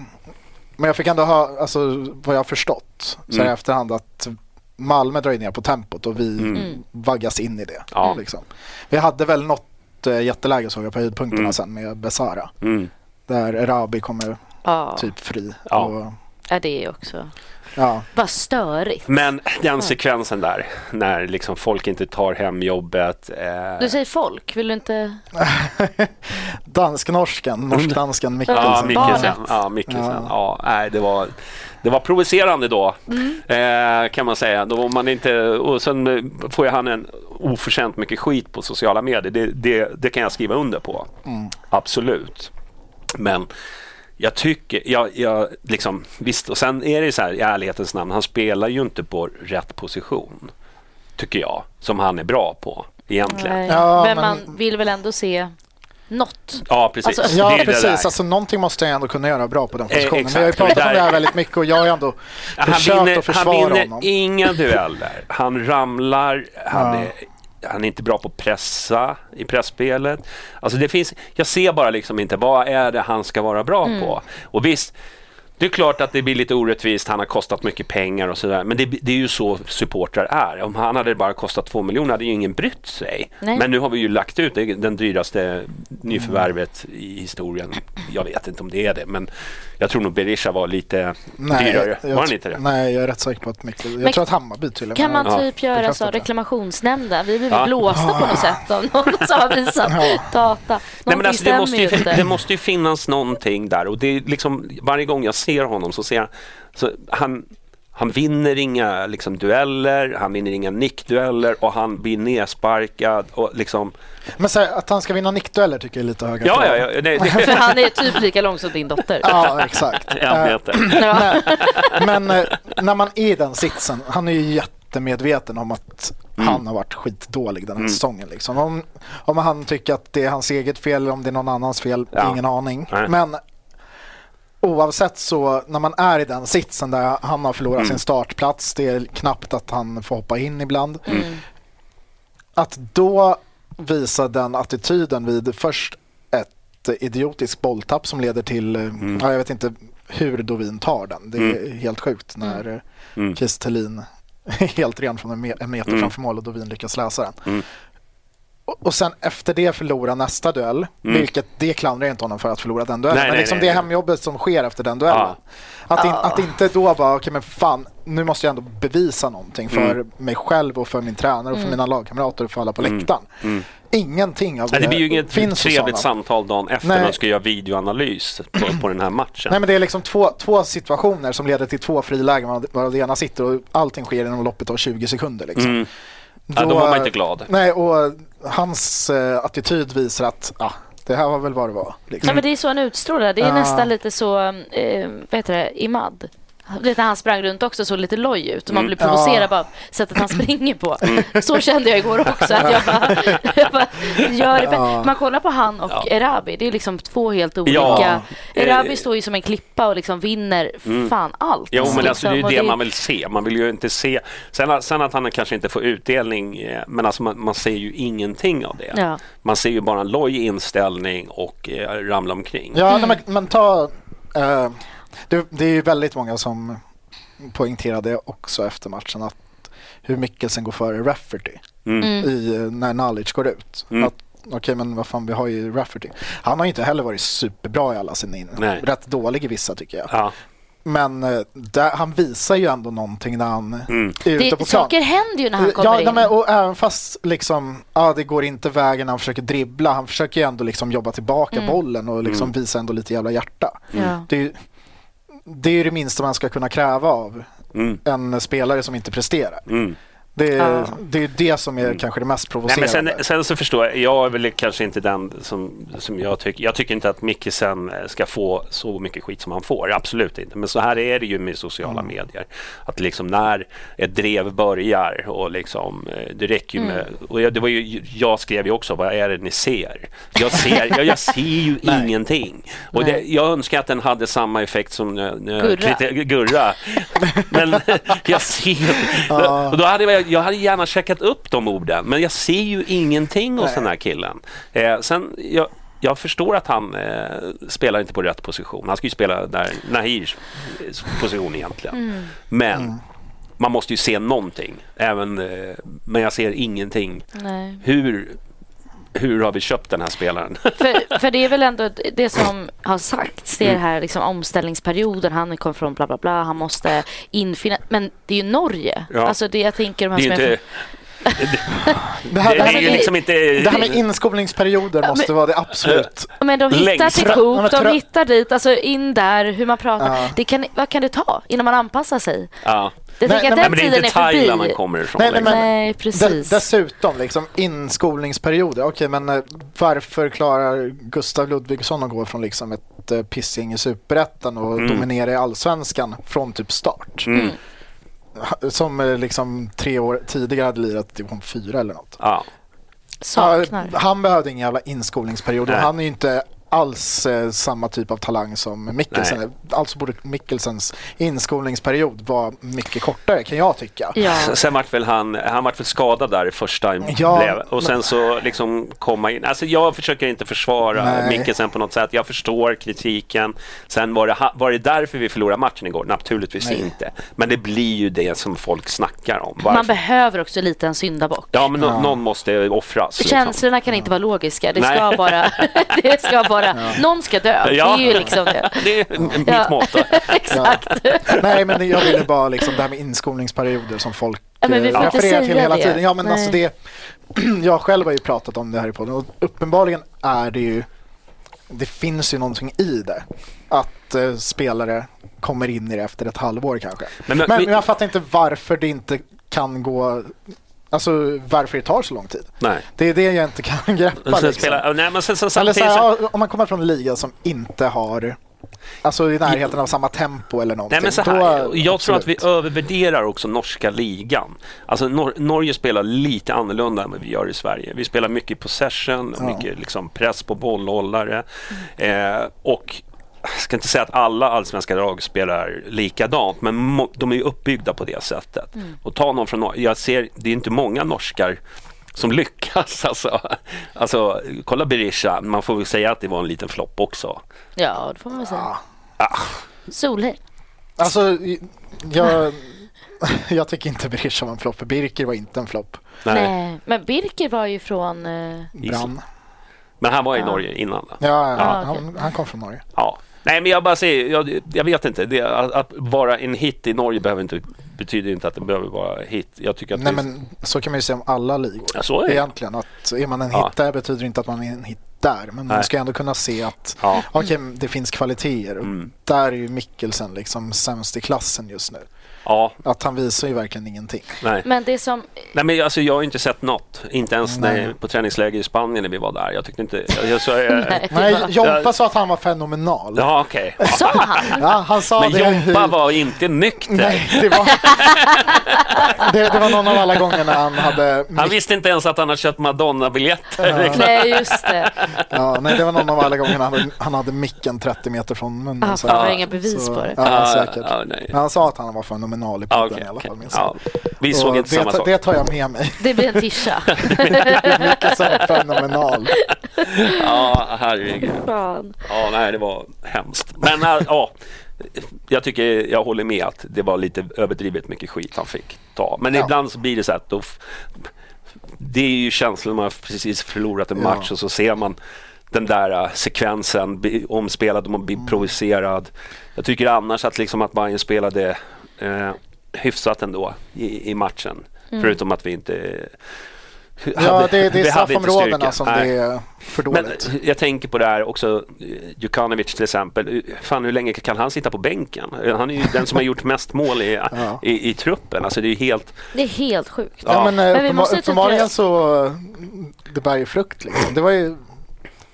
men jag fick ändå ha, alltså, vad jag har förstått så Mm. här i efterhand att Malmö drar ju ner på tempot och vi Mm. Mm. vaggas in i det. Ja. Liksom. Vi hade väl något eh, jätteläge såg jag på höjdpunkterna sen med Besara. Mm. Där Erabi kommer Ja, typ fri. Ja. Och, ja, det är också... ja. Bara störigt. Men den sekvensen där, när liksom folk inte tar hem jobbet. Eh, Du säger folk, vill du inte... Dansk-norsken, norsk-dansken Mikkelsen. Ja, Mikkelsen. Mikkelsen. Ja, Mikkelsen. Ja, nej, det, var, det var provocerande då, eh, kan man säga. Då var man inte, och sen eh, får ju han en oförtjänt mycket skit på sociala medier. Det, det, det kan jag skriva under på. Absolut. Men jag tycker, jag, jag liksom, visst, och sen är det ju så här i ärlighetens namn, han spelar ju inte på rätt position, tycker jag, som han är bra på egentligen. Nej. Ja, men, men- man vill väl ändå se något. Ja, precis. Alltså- Det är Ja, ju det där. precis. Alltså, någonting måste jag ändå kunna göra bra på den Eh, positionen. exakt. Vi har ju pratat Det där- om det här väldigt mycket och jag har ju ändå försökt Han vinner, att försvara han vinner honom. inga dueller. Han ramlar, han, är, han är inte bra på att pressa i pressspelet. Alltså det finns, jag ser bara liksom inte, vad är det han ska vara bra på? Och visst, det är klart att det blir lite orättvist, han har kostat mycket pengar och sådär. Men det, det är ju så supportrar är. Om han hade bara kostat två miljoner hade ju ingen brytt sig. Nej. Men nu har vi ju lagt ut det, den dyraste nyförvärvet i historien. Jag vet inte om det är det, men jag tror nog Berisha var lite dyrare. jag, Var han inte det? Nej, jag är rätt säker på att Mikkel... Jag Men- tror att Hammarby till och med... Kan man Ja, typ göra bekräftat så det. reklamationsnämnden? Vi blir Ja. blåsta på något sätt av någon som har visat data. Nej, men Någonting alltså, det, måste ju, stämmer ju det inte. måste ju finnas någonting där och det är liksom, varje gång jag ser honom så ser jag, så han, han vinner inga liksom, dueller, han vinner inga nickdueller och han blir nedsparkad och liksom, Men så här, att han ska vinna nickdueller tycker jag är lite höga ja, krav. ja, ja, nej, det, För han är typ lika lång som din dotter. Ja, exakt. jag vet det. Ja. Men eh, när man är i den sitsen, han är ju jättemedveten om att Mm. han har varit skitdålig den här säsongen. Liksom. Om, om han tycker att det är hans eget fel eller om det är någon annans fel, Ja. ingen aning. Nej. Men oavsett så, när man är i den sitsen där han har Mm. förlorat sin startplats, det är knappt att han får hoppa in ibland. Mm. Att då visa den attityden vid först ett idiotiskt bolltapp som leder till, eh, Mm. ja, jag vet inte hur Dovin tar den. Det är helt sjukt när Mm. eh, Mm. Kiese Thelin är helt ren från en, me- en meter framför mål och Dovin lyckas läsa den. Och och sen efter det förlora nästa duell, vilket det klandrar jag inte honom för att förlora den Mm. duellen. Nej, men nej, liksom nej, det nej. hemjobbet som sker efter den duellen. Ja. Att, in, att inte då bara, okej men fan, nu måste jag ändå bevisa någonting för Mm. mig själv och för min tränare och för mina lagkamrater och för alla på läktaren. Ingenting av Mm. Nej, det blir ju inget finns hos trevligt honom. samtal dagen efter Nej. man ska göra videoanalys på, på den här matchen. Nej men det är liksom två, två situationer som leder till två frilägen varav varav det ena sitter och allting sker inom loppet av 20 sekunder. Liksom. Mm. Ja, då var man inte glad. Nej, och hans eh, attityd visar att ah, det här var väl vad det var. Mm. Liksom. Ja, men det är så han utstrålar. Det är Ja. nästan lite så, eh, vad heter det, Imad. Du vet när han sprang runt också såg lite loj ut Mm. och man blev provocerad bara av sättet han springer på. Så kände jag igår också att jag bara, jag bara gör det bättre. Man kollar på han och Erabi, det är liksom två helt olika. Ja. Erabi Eh, Mm. står ju som en klippa och liksom vinner fan allt. Jo, men alltså, det är ju liksom. det Och man vill se. Man vill ju inte se... Sen, sen att han kanske inte får utdelning, eh, men alltså man, man ser ju ingenting av det. Ja. Man ser ju bara en loj inställning och eh, ramla omkring. Ja, Mm. nej, men, men ta... eh, det, det är ju väldigt många som poängterade också efter matchen att hur Mikkelsen går före Rafferty Mm. Mm. i, eh, när Nalic går ut. Att, Okej, men vad fan, vi har ju Rafferty. Han har ju inte heller varit superbra i alla sina Nej. in. Rätt dålig i vissa tycker jag. Ja. Men eh, där, han visar ju ändå någonting när han Mm. är ute på det, plan. saker händer ju när han Eh, Ja, kommer nej, in. men, och även fast liksom, ja, det går inte vägen när han försöker dribbla, han försöker ju ändå liksom jobba tillbaka bollen och liksom Mm. visa ändå lite jävla hjärta. Mm. Ja. Det, är ju, det är ju det minsta man ska kunna kräva av Mm. en spelare som inte presterar. Det, är, det är ju det som är kanske det mest Mm. Nej, men provocerande. sen, sen så förstår jag, jag är väl kanske inte den som, som jag tycker, jag tycker inte att Mikkelsen eh, ska få så mycket skit som han får, absolut inte. Men så här är det ju med sociala medier, att liksom när ett drev börjar och liksom, eh, det räcker ju med, och jag, det var ju, jag skrev ju också, vad är det ni ser? Jag ser, jag, jag ser ju ingenting. Och det, jag önskar att den hade samma effekt som när- när jag Gurra. kriti- Gurra. Men jag ser... Och då hade jag, jag hade gärna checkat upp de orden, men jag ser ju ingenting hos den här killen. Eh, sen, jag, jag förstår att han eh, spelar inte på rätt position. Han ska ju spela där Nahirs position egentligen. Mm. Men Mm. man måste ju se någonting. Även, eh, men jag ser ingenting. Nej. Hur, hur har vi köpt den här spelaren? för, för det är väl ändå det som har sagts, det är det Mm. här liksom omställningsperioden, han kom från bla bla bla, han måste infinna, men det är ju Norge. Ja. Alltså det jag tänker de här Det är ju som är inte... från- det, här, Det det, här är ju med, liksom inte... det här med inskolningsperioder måste vara det absolut. Men de hittar Längst till fram. Ja, men Coop, de tra- hittar dit, alltså in där, hur man pratar. Det kan, vad kan det ta innan man anpassar sig? Ja. Jag Nej, tänker nej, Nej, men att den det är tiden inte är förbi. Thailand han kommer ifrån. Nej, nej, längre. men- Nej, De, precis. dessutom, liksom, inskolningsperioder. Okej, men eh, varför klarar Gustav Ludvigsson att gå från liksom ett eh, pissing i superettan och Mm. dominera i allsvenskan från typ start? Ha- Som eh, liksom tre år tidigare hade lirat i division 4 eller något. Ja. Saknar. Ja, han behövde ingen jävla inskolningsperiod och Nej. han är ju inte alls eh, samma typ av talang som Mikkelsen. Nej. är. Alltså borde Mikkelsens inskolningsperiod vara mycket kortare kan jag tycka. Ja. S- Sen vart väl han, han vart väl skadad där i första Ja, blev och sen så liksom komma in. Alltså jag försöker inte försvara Nej. Mikkelsen på något sätt. Jag förstår kritiken. Sen var det, ha- var det därför vi förlorade matchen igår? Naturligtvis Nej. inte. Men det blir ju det som folk snackar om. Man Varför? behöver också lite en syndabock. Ja, men no- någon måste offras. Liksom. Känslorna kan inte vara logiska. Det ska Nej. bara... det ska bara Någon ska dö. Ja. Det är ju liksom det. Det är mitt Ja. motto. Exakt. Nej, men jag ville bara liksom det här med inskolningsperioder som folk Ja, men vi eh, får inte refererar till säga hela det. tiden. Ja, men Nej. alltså det, jag själv har ju pratat om det här i podden och uppenbarligen är det ju, det finns ju någonting i det. Att eh, spelare kommer in i det efter ett halvår kanske. Men- Men, men- men, men- jag fattar inte varför det inte kan gå, alltså varför det tar så lång tid. Nej. Det är det jag inte kan greppa. Och Sen liksom. Alltså, spela, nej, men sen, sen, Eller så samtidigt, här, så, ja, om man kommer från en liga som inte har Alltså i närheten av samma tempo eller någonting. Nej, men så här, typ då- jag tror att vi absolut. övervärderar också norska ligan. Alltså Nor- Norge spelar lite annorlunda än vad vi gör i Sverige. Vi spelar mycket possession, och mycket liksom press på bollhållare. Eh, och jag ska inte säga att alla allsvenska lag spelar likadant, men må- de är ju uppbyggda på det sättet. Och ta någon från Norge, jag ser, det är inte många norskar som lyckas alltså. alltså kolla Berisha, man får väl säga att det var en liten flopp också. Ja, det får man väl säga. Ah. Solheim. Alltså, jag, jag tycker inte Birch var en flopp. Birker var inte en flopp. Nej. Men Birker var ju från... eh, Brann. Men han var i Ja. Norge innan. Då. Ja, ja, Ah, okej. han, han kom från Norge. Ja. Nej, men jag bara säger, jag, jag vet inte. Det, att, att vara en hit i Norge behöver inte, betyder inte att det behöver vara hit. Jag tycker att Nej, det, men så kan man ju säga om alla ligor. Ja, så är det. Egentligen att är man en hit Ja. där betyder inte att man är en hit där. Men Nej. man ska ändå kunna se att Ja. okej, det finns kvaliteter. Och Mm. Där är ju Mikkelsen liksom sämst i klassen just nu. Ja, Att han visar ju verkligen ingenting. nej. Men det som... Nej, men alltså, jag har ju inte sett något. Inte ens Nej. när, på träningsläger i Spanien när vi var där. Jag tyckte inte... Jag, jag, så, jag, Eh, Nej, Ja. Jompa sa att han var fenomenal. Ja. ja, okej. Sa han? han sa Men det. Jompa var inte nykter. Nej, det var... det, det var någon av alla gångerna han hade... Han visste inte ens att han har köpt Madonna-biljetter. Nej, just det. Ja, nej, det var någon av alla gångerna han hade, han hade micken 30 meter från munnen. Ah, så- fan, jag har inga bevis på det. Ja, Ja, säkert. ja, Ah, nej. Men han sa att han var fenomenal i podden Ja, okej, i alla okej. fall. minns Ja, jag. vi såg Och inte det, samma ta- sak. Det tar jag med mig. Det blir en tischa. Mycket så här fenomenal. Ja, herregud. Fan. Ja, nej, det var hemskt. Men äh, ja, jag tycker jag håller med att det var lite överdrivet mycket skit han fick ta. Men Ja. ibland så blir det så att då, f- det är ju känslan man har precis förlorat en Ja. match och så ser man den där äh, sekvensen bli omspelad och man Mm. blir provocerad. Jag tycker annars att liksom att Bayern spelade eh, hyfsat ändå i, i matchen. Förutom att vi inte... Mm. Ja, det, det vi är hade inte styrka. straffområdena som Nej. det är för Men dåligt. jag tänker på det här också, eh, Djukanovic till exempel. Eh, Fan, hur länge kan han sitta på bänken? Eh, Han är ju den som har gjort mest mål i, i, i truppen. Alltså det är ju helt... Det är helt sjukt. Ja. Ja, men, eh, Men vi uppenbar- måste ju typ uppenbarligen göra- så eh, det bär ju frukt. Liksom. Det var ju,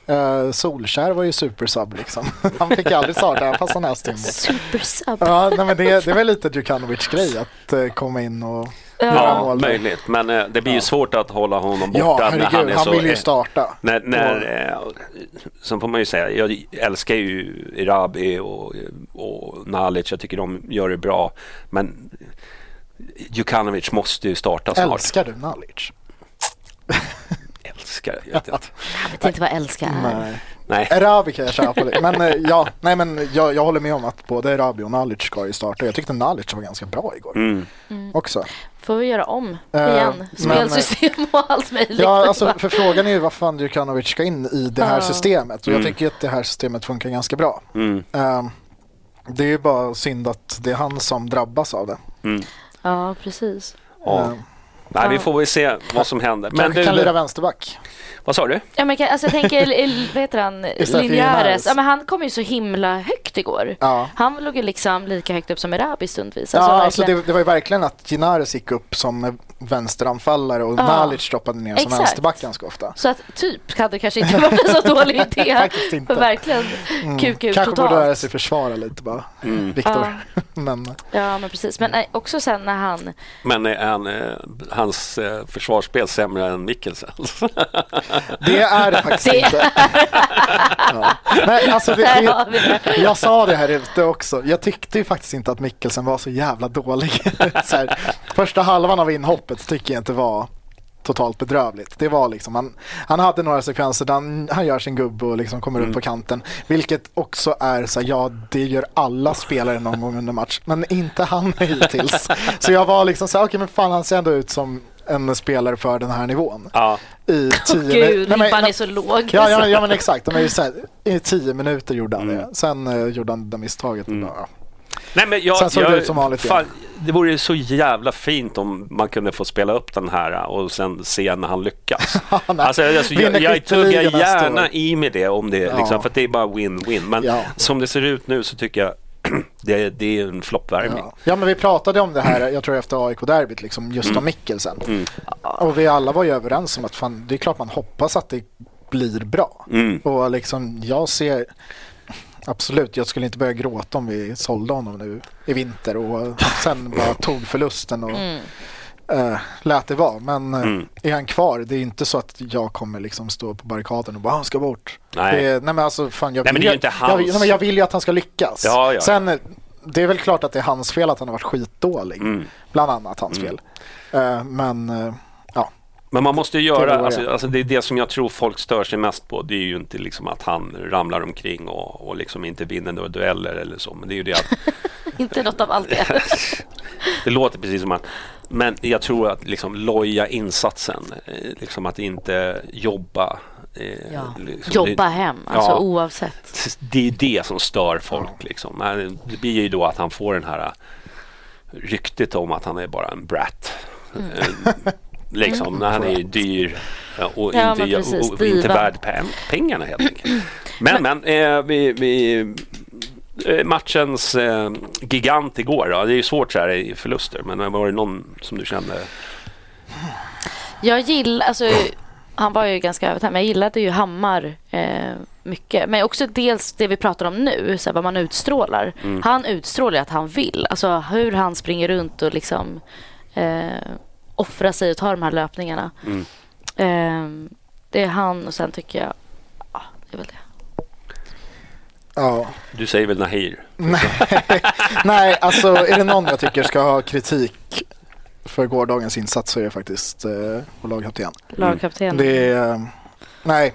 eh, Solskär var ju supersub. Liksom. Han fick ju aldrig starta, han fast han öste in mål. Supersub. Ja, nej, men det, det var lite Djukanovic grej att eh, komma in och Ja, göra mål. möjligt. Men eh, det blir ju svårt att hålla honom borta Ja, när herregud, han han, är så... vill ju eh, starta. När, när, eh, sen får man ju säga, jag älskar ju Irabi och, och Nalic. Jag tycker de gör det bra. Men Djukanovic måste ju starta snart. Älskar du Nalic? Älskar, jag vet inte. Jag vet inte vad älska är. Nej. Nej. Erabi kan jag köpa lite. Men, eh, ja, nej, men jag, jag håller med om att både Erabi och Nalic ska ju starta. Jag tyckte Nalic var ganska bra igår Mm. också. Får vi göra om Eh, igen? men- Spelsystem och allt möjligt. Ja, alltså, för frågan är ju vad fan Djukanovic ska in i det här Ja. systemet. Och jag Mm. tycker att det här systemet funkar ganska bra. Mm. Ehm, det är ju bara synd att det är han som drabbas av det. Mm. Ja, precis. Ja. Ehm, Nej, vi får väl se vad som händer. Men kanske kan lira du, vänsterback. vad sa du? Ja, men, kan- alltså, jag tänker, l- l- vad heter han, Istället för Linjares. Linares. Ja, men han kom ju så himla högt igår. Ja. Han låg ju liksom lika högt upp som Erabi stundvis. Ja, Alltså, alltså verkligen. det, det var ju verkligen att Ginares gick upp som vänsteranfallare och Ja. Nalic droppade ner som Exakt. vänsterback ganska ofta. Så att typ hade kanske inte varit en så dålig idé. Faktiskt inte. Mm. Verkligen kuk ut Kanske borde lära totalt. sig försvara lite bara, Mm. Viktor. Men Ja, men precis. Men nej, också sen när han... Men är han, eh, hans eh, försvarsspel sämre än Mikkelsens? det är det faktiskt Det- inte. Ja. Nej, alltså det, Där har det, vi det. jag sa det här ute också. Jag tyckte ju faktiskt inte att Mikkelsen var så jävla dålig. så här, första halvan av inhoppet tycker jag inte var totalt bedrövligt. Det var liksom, han, han hade några sekvenser där han, han gör sin gubbe och liksom kommer upp på kanten. Vilket också är så här, ja det gör alla spelare någon gång under match. Men inte han hittills. Så jag var liksom så här, okej men fan han ser ändå ut som en spelare för den här nivån. ja. I tio Gud, Nej, men- ribban är så låg. Ja, ja, men- ja men exakt. De är ju så här, I tio minuter gjorde han det. Sen eh, gjorde han det där misstaget. och Bara, ja. Nej, men jag, Sen såg jag, det ut som vanligt igen. fan, det vore ju så jävla fint om man kunde få spela upp den här eh, och sen se när han lyckas. nej. alltså, alltså, jag, Vinner jag tuggar skytteligan nästa gärna år. i med det, om det liksom, Ja. för att det är bara win-win. Men Ja. som det ser ut nu så tycker jag det, det är en floppvärmning. Ja. ja, men vi pratade om det här, jag tror efter AIK-derbyt, liksom, just Mm. om Mikkelsen. Och vi alla var ju överens om att fan, det är klart man hoppas att det blir bra. Mm. Och liksom, jag ser... Absolut, jag skulle inte börja gråta om vi sålde honom nu i vinter och sen bara tog förlusten och eh, lät det vara. Men eh, Mm. är han kvar, det är inte så att jag kommer liksom stå på barrikaden och bara han ska bort. Nej. Det är, nej men alltså fan, jag Nej, men vill det är ju ju- inte jag vill- hans. nej, men Jag vill ju att han ska lyckas. Ja, ja. Sen, eh, det är väl klart att det är hans fel att han har varit skitdålig. Mm. Bland annat hans fel. Eh, men eh, ja, Men man måste ju Det göra, var det. alltså, alltså det är det som jag tror folk stör sig mest på. Det är ju inte liksom att han ramlar omkring och, och liksom inte vinner några dueller eller så. Men det är ju det att Inte något av allt det. Det låter precis som att men jag tror att liksom loja insatsen, eh, liksom att inte jobba. eh, Ja. liksom, Jobba det- hem, alltså Ja. oavsett. det är det som stör folk. Liksom. Men Det blir ju då att han får den här eh, ryktet om att han är bara en brat. Eh, Liksom, när han är dyr eh, och Ja, inte, men gör- precis, och, och inte diva. värd pen- pengarna helt enkelt. Men, men eh, vi, vi, eh, matchens eh, gigant igår då. Det är ju svårt så här i förluster, men var det någon som du kände? Jag gillar, alltså, han var ju ganska övertänd, men jag gillade ju Hammar eh, mycket. Men också dels det vi pratar om nu, så här, vad man utstrålar. Mm. Han utstrålar ju att han vill. Alltså hur han springer runt och liksom eh, offrar sig och tar de här löpningarna. Mm. Eh, det är han och sen tycker jag, ja, det är väl det. Ja. Du säger väl Nahir? Nej, alltså är det någon jag tycker ska ha kritik för gårdagens insats så är det faktiskt eh, vår lagkapten. Lagkapten. Det är, eh, nej,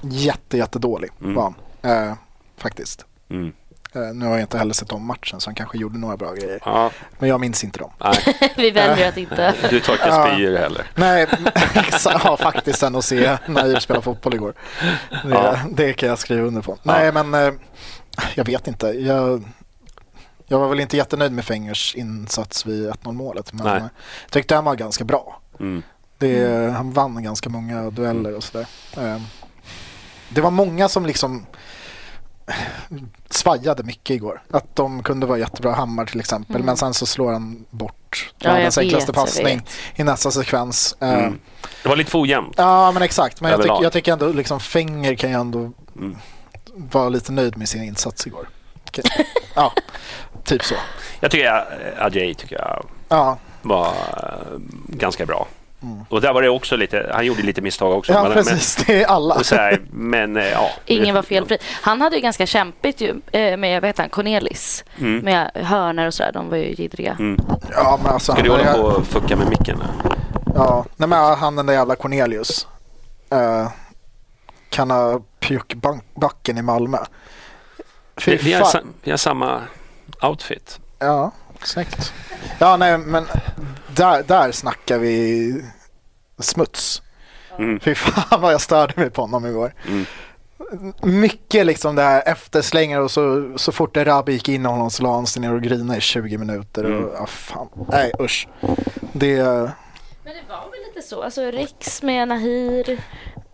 jätte, jättedålig Mm. var han. Eh, faktiskt. Mm. Eh, nu har jag inte heller sett om matchen så han kanske gjorde några bra grejer. Ja, Men jag minns inte dem. nej, Vi väljer att inte. du tar inte Ja. spyor heller. Nej, exa- ja, faktiskt sen att se Nair spela fotboll igår. Det, Ja. det kan jag skriva under på. Nej, men eh, jag vet inte. Jag, jag var väl inte jättenöjd med Fängers insats vid 1-0 målet, men Nej. jag tyckte han var ganska bra. Mm. Det, Han vann ganska många dueller och sådär. Eh, det var många som liksom svajade mycket igår. Att de kunde vara jättebra hammar till exempel, Mm. men sen så slår han bort Ja, jag världens enklaste vet, jag passning vet. i nästa sekvens. Eh, Mm. Det var lite för ojämnt. Ja, men exakt. Men jag, Överlag. tycker- jag tycker ändå liksom Fenger kan ju ändå Mm. vara lite nöjd med sin insats igår. Okej. Ja, typ så. Jag tycker eh, Ajay tycker jag Ja, var eh, ganska bra. Och där var det också lite, han gjorde lite misstag också. ja men, precis. Det är alla. Men, och så här, men eh, ja. Ingen var felfri. Han hade ju ganska kämpigt ju, eh, med, vad heter han, Cornelis. Mm. Med hörner och sådär, de var ju jiddriga. Ja, men alltså, Ska han, du hålla på ja, och fucka med micken? nu? ja, nej, men han den där jävla Cornelius. Eh, kan ha pjuckbacken i Malmö. Fy Vi, vi, har fan. sa, vi har samma outfit. Ja, snyggt. Ja, nej, men där, där snackar vi smuts. Mm. Fy fan vad jag störde mig på honom igår. Mm. Mycket liksom det här efterslängar och så, så fort det Rabbi gick in i honom så la han sig ner och grinade i 20 minuter. Mm. Och, ja, fan. Nej, usch. Det, Men det var väl lite så, alltså Riks med Nahir.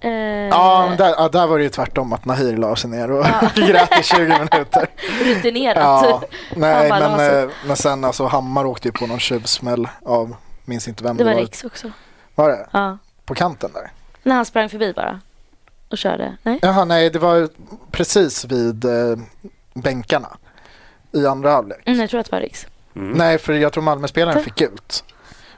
Eh, ja, men där, ja, där var det ju tvärtom att Nahir la sig ner och grät i 20 minuter. Rutinerat. Ja, nej, Hammar typ. la men, sig. eh, men sen alltså Hammar åkte ju på någon tjuvsmäll av, minns inte vem Det det var Riks också. Var det? Ja. På kanten där? När han sprang förbi bara och körde. Nej? Jaha, nej, det var precis vid eh, bänkarna i andra halvlek. Mm, jag tror att det var Riks. Nej, för jag tror Malmöspelaren fick gult.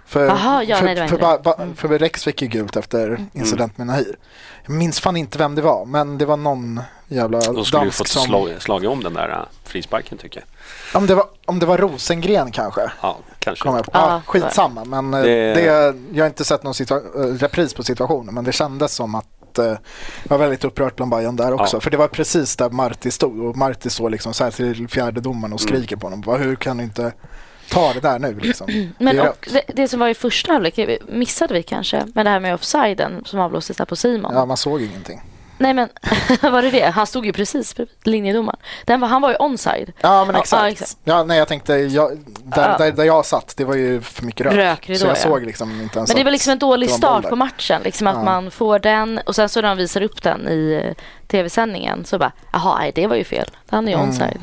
För, Aha, ja, för, nej, det Mm. var för, inte ba, ba, för Rex fick ju gult efter incident med Nahir. Jag minns fan inte vem det var, men det var någon jävla De skulle ju dansk fått som... slag, slagit om den där eh, frisparken tycker jag. Om, det var, om det var Rosengren kanske. Ja, kanske. Kom jag på. Ja, Ja, skitsamma, men eh, Det- det... jag har inte sett någon situa- eh, repris på situationen, men det kändes som att eh, jag var väldigt upprört bland Bayern där också. Ja. För det var precis där Marti stod och Marti står liksom så här till fjärde domaren och skriker på honom. Bara, Hur kan du inte ta det där nu? Liksom? Men det är och, det, det som var i första halvlek missade vi kanske. Men det här med offsiden som avblåstes där på Simon. Ja, man såg ingenting. Nej men var det det? Han stod ju precis bredvid linjedomaren. Den var, han var ju onside. Ja, men Ja, exakt. ja, Ja, exakt. nej, jag tänkte, jag, där, Ja. där, där jag satt, det var ju för mycket rök. Rökridå, så jag ja. såg liksom inte ens Men det var att liksom en dålig det var en boll start där. på matchen. Liksom att man får den och sen så när de visar upp den i eh, tv-sändningen så bara, jaha, nej, det var ju fel. Han är ju onside.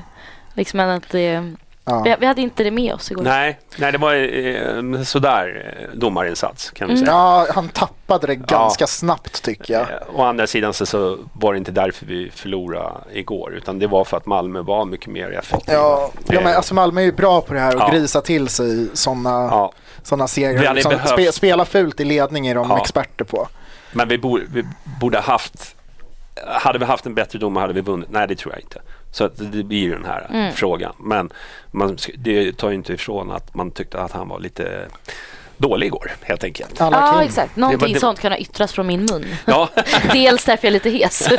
Liksom men att det, Mm. Ja. vi, vi hade inte det med oss igår. Nej, nej, det var eh, sådär eh, domarinsats kan vi Mm. säga. Ja, han tappade det ganska snabbt tycker jag. Eh, Å andra sidan så, så var det inte därför vi förlorade igår utan det var för att Malmö var mycket mer effektiva. Ja, ja men Eh, alltså Malmö är ju bra på det här och Ja. grisa till sig sådana Ja. såna Vi segrar. hade Liksom, behövt- spe, spela fult i ledning är de Ja. experter på. Men vi borde, vi borde haft... Hade vi haft en bättre domare hade vi vunnit. Nej, det tror jag inte. Så att det- det blir ju den här Mm. frågan. Men man, sk- det tar ju inte ifrån att man tyckte att han var lite dålig igår, helt enkelt. Alla Ja, kring. exakt. Någonting det- sånt kan ha yttrats från min mun. Ja, Dels därför jag är lite hes.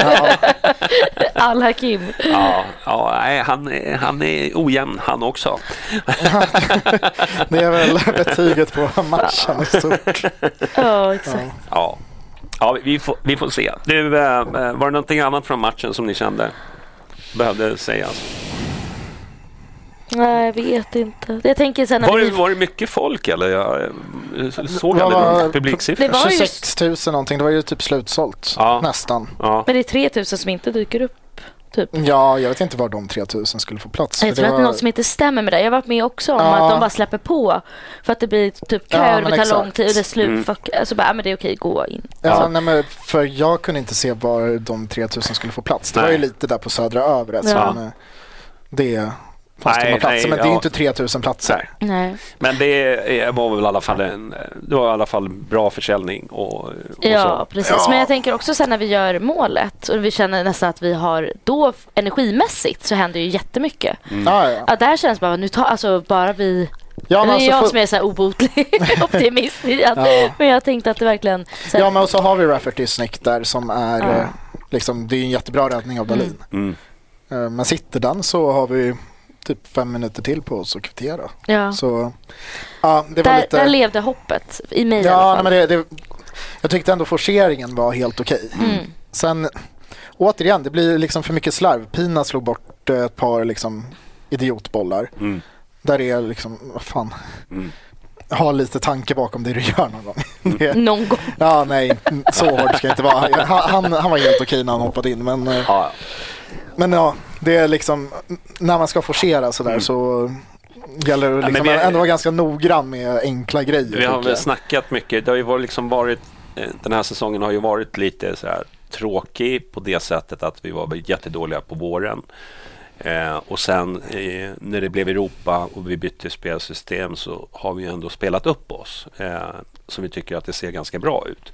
Alla Kim. ja, ja nej, han, är- han är ojämn han också. Det är väl betyget på matchen i stort. Ja, exakt. Ja, ja vi, får, vi får se. Du, eh, eh, var det någonting annat från matchen som ni kände behövde sägas? Nej, jag vet inte. Jag tänker sen när Var det, vi... var det mycket folk eller? Jag eh, såg Vad aldrig var- någon publiksiffra. Det var ju- 26 000 någonting, det var ju typ slutsålt Ja. nästan. Ja. Men det är 3000 som inte dyker upp. Ja, jag vet inte var de 3 000 skulle få plats. Jag för tror det att det är något som inte stämmer med det. Jag har varit med också om Ja. att de bara släpper på för att det blir typ Ja, köer, men det tar lång exakt. tid och det är slut. Mm. Fuck. Alltså bara, ja, men det är okej, gå in. Ja, Alltså, nej, men för jag kunde inte se var de 3000 skulle få plats. Det var ju Nej. lite där på södra övre. Ja. Ja. Men, eh, det fanns Nej, tomma platser, nej, men det är ja. ju inte 3000 Så platser. här. Nej. Men det eh, var väl i alla fall, en, det var i alla fall bra försäljning och, och Ja, så. precis. Men jag tänker också sen när vi gör målet och vi känner nästan att vi har då energimässigt så händer ju jättemycket. Mm. Ja, ja. Ja, där känns bara, nu tar, alltså bara vi Mm. Ja, det är men jag alltså, som är så här obotlig optimist. i att- Ja. Men jag tänkte att det verkligen... Så här, ja, men och så har vi Rafferty Snick där som är, Ja. eh, liksom, det är ju en jättebra räddning av Dahlin. Mm. Eh, Men sitter den så har vi typ fem minuter till på oss att kvittera. ja. Så, ja, det var där, lite... där levde hoppet, i mig i Ja, alla nej, fall. men det, det, jag tyckte ändå forceringen var helt okej. Mm. Sen återigen, det blir liksom för mycket slarv. Pina slog bort eh, ett par liksom, idiotbollar. Mm. Där det är liksom, vad fan, Mm. ha lite tanke bakom det du gör någon gång. Det, Någon gång. ja, nej, så hårt ska jag inte vara. Han, han, han var helt okej när han hoppade in. Men, eh, Ja, men ja, det är liksom, när man ska forcera sådär så gäller det Mm. men liksom vi- ändå vara ganska noggrann med enkla grejer. Vi har tycker väl jag. snackat mycket. Det har ju varit liksom varit, eh, den här säsongen har ju varit lite så här tråkig på det sättet att vi var jättedåliga på våren. Eh, och sen eh, när det blev Europa och vi bytte spelsystem så har vi ju ändå spelat upp oss. Eh, så vi tycker att det ser ganska bra ut.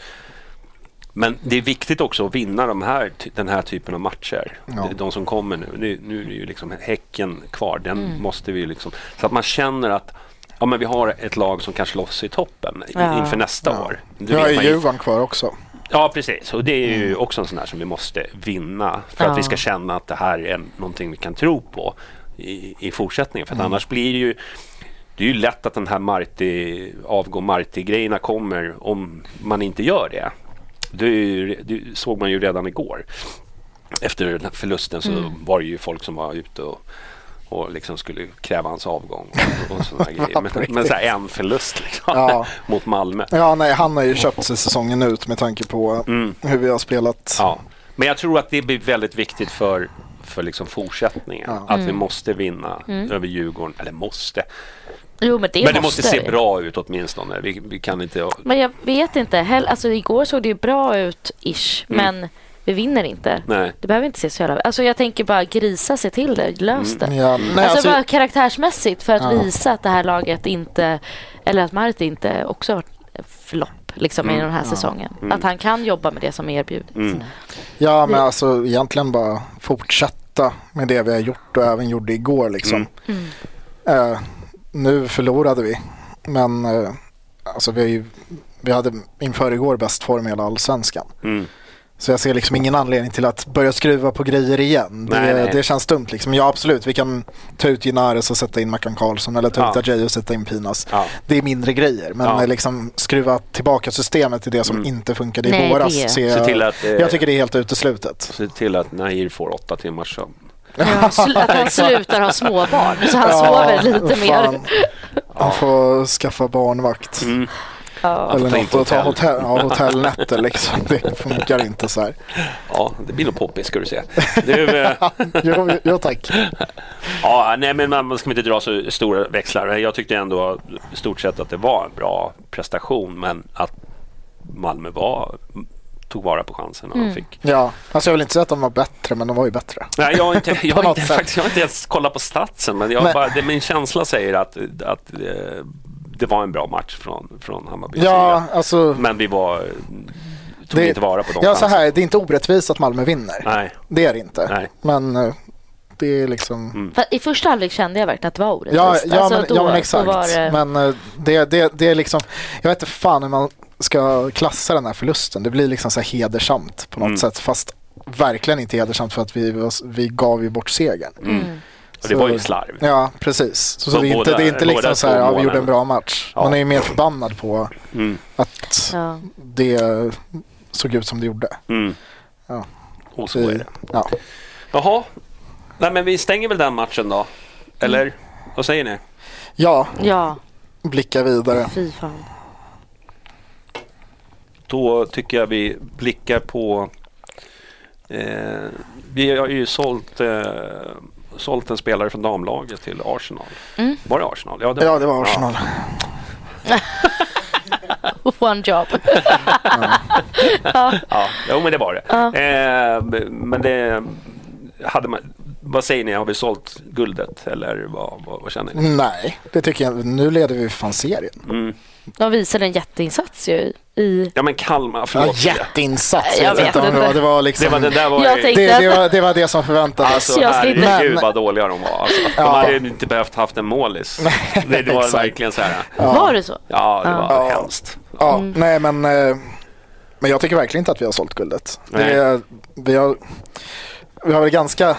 Men det är viktigt också att vinna de här, ty- den här typen av matcher. Ja. De- De som kommer nu. Nu, nu är det ju liksom Häcken kvar. Den måste vi ju liksom... Så att man känner att ja, men vi har ett lag som kan slåss i toppen i- Ja. inför nästa år. Du Nu har vet ju man ju- Djurgården kvar också. Ja, precis. Och det är ju också en sån här som vi måste vinna för Ja. att vi ska känna att det här är någonting vi kan tro på i, i fortsättningen. För att annars blir det ju det är ju lätt att den här Marti, avgå Marti-grejerna kommer om man inte gör det. Det, är ju- det såg man ju redan igår. Efter den här förlusten så var det ju folk som var ute och, och liksom skulle kräva hans avgång. Och, och såna här grejer. Men, men så här en förlust liksom, Ja. mot Malmö. Ja, nej, han har ju köpt sig säsongen ut med tanke på hur vi har spelat. Mm. Ja. Men jag tror att det blir väldigt viktigt för, för liksom fortsättningen. Att vi Mm. måste vinna över Djurgården. Eller måste. Jo, men Mm. det Men det måste måste se jag. bra ut åtminstone. Vi, vi kan inte... Men jag vet inte. Hell, alltså, igår såg det ju bra ut, ish. Men vi vinner inte. Nej. Det behöver inte se så jävla... Alltså, jag tänker bara grisa sig till det. Lös det. Ja, nej, alltså, alltså, bara karaktärsmässigt för att Ja. visa att det här laget inte... Eller att Marti inte också har varit flopp liksom, i den här säsongen. Att han kan jobba med det som erbjudits. Mm. ja, men alltså egentligen bara fortsätta med det vi har gjort och även gjorde igår. Liksom. Mm. Mm. Eh, nu förlorade vi, men eh, alltså, vi, har ju- vi hade inför igår bäst form i hela allsvenskan. Mm. Så jag ser liksom ingen anledning till att börja skruva på grejer igen. Det, Nej, nej. det känns dumt. Liksom. Ja, absolut. Vi kan ta ut Ginares och sätta in Mackan Karlsson eller ta ut Ja. Ajay och sätta in Pinas. Ja. Det är mindre grejer. Men Ja. Mm. eh, liksom, skruva tillbaka systemet till det som inte funkade i Nej, våras. ser det- Se jag, till att, eh, jag tycker det är helt uteslutet. Se till att Nahir får åtta timmars sömn. Ja, sl- att han slutar ha småbarn så han sover lite fan. mer. Han får skaffa barnvakt. Ja. Eller Mm. ta in något och ta hotell. hotell, ja, hotellnätter liksom. Det funkar inte så här. Ja, det blir nog poppis ska du se. Du, eh, Jo, jo tack. ja, nej, men man man ska inte dra så stora växlar. Jag tyckte ändå i stort sett att det var en bra prestation. Men att Malmö var, tog vara på chansen Mm. och fick Ja, alltså jag vill inte säga att de var bättre, men de var ju bättre. Nej, jag har inte, jag På har något inte, sätt. faktiskt, jag har inte ens kollat på statsen, men, jag Men- Bara, det, min känsla säger att, att eh, det var en bra match från, från Hammarby Ja, sida. alltså. Men vi var, tog inte vara på de ja, så här, Det är inte orättvist att Malmö vinner. Nej. Mm. Det är det inte. Nej. Men eh, Det är liksom... För I första halvlek kände jag verkligen att det var orättvist. Ja, ja, Alltså, men, då- ja men då exakt. var det- Men eh, det, det, det är liksom, jag vet inte fan hur man ska klassa den här förlusten. Det blir liksom så här hedersamt på något Mm. sätt. Fast verkligen inte hedersamt för att vi, var- vi gav ju bort segern. Mm. Och det var ju slarv. Ja, precis. Så, Så så det, är inte, båda- det är inte båda liksom så här, två ja, vi gjorde målen. en bra match. Ja. Man är ju mer förbannad på Mm. att Ja. det såg ut som det gjorde. Mm. Ja. Och så är det. Ja. Jaha. Nej, men vi stänger väl den matchen då? Eller? Vad säger ni? ja, ja, blicka vidare. fy fan. Då tycker jag vi blickar på... Eh, vi har ju sålt, eh, sålt en spelare från damlaget till Arsenal. Mm. Var det Arsenal? Ja, Ja, det var Arsenal. One job. Ja, jo, men det var det. Eh, men det hade man, vad säger ni, har vi sålt guldet eller vad, vad, vad känner ni? Nej, det tycker jag Nu leder vi fan serien. Mm. De visade en jätteinsats ju i... Ja men Kalmar, Ja, förlåt. jätteinsats. Jag Jag vet vet inte om det inte. var. Det var liksom... det var det där var Jag ju, tänkte- det, det, var, det var det som förväntades. Alltså Jag skulle inte- herregud Men- vad dåliga de var. Alltså, De Ja. hade ju inte behövt haft en målis. Det, det var exakt. verkligen så här. Var det så? Ja, det var Ja. hemskt. ja, Mm. nej, men, eh, men jag tycker verkligen inte att vi har sålt guldet. Nej. Det, är- vi, har, vi har väl ganska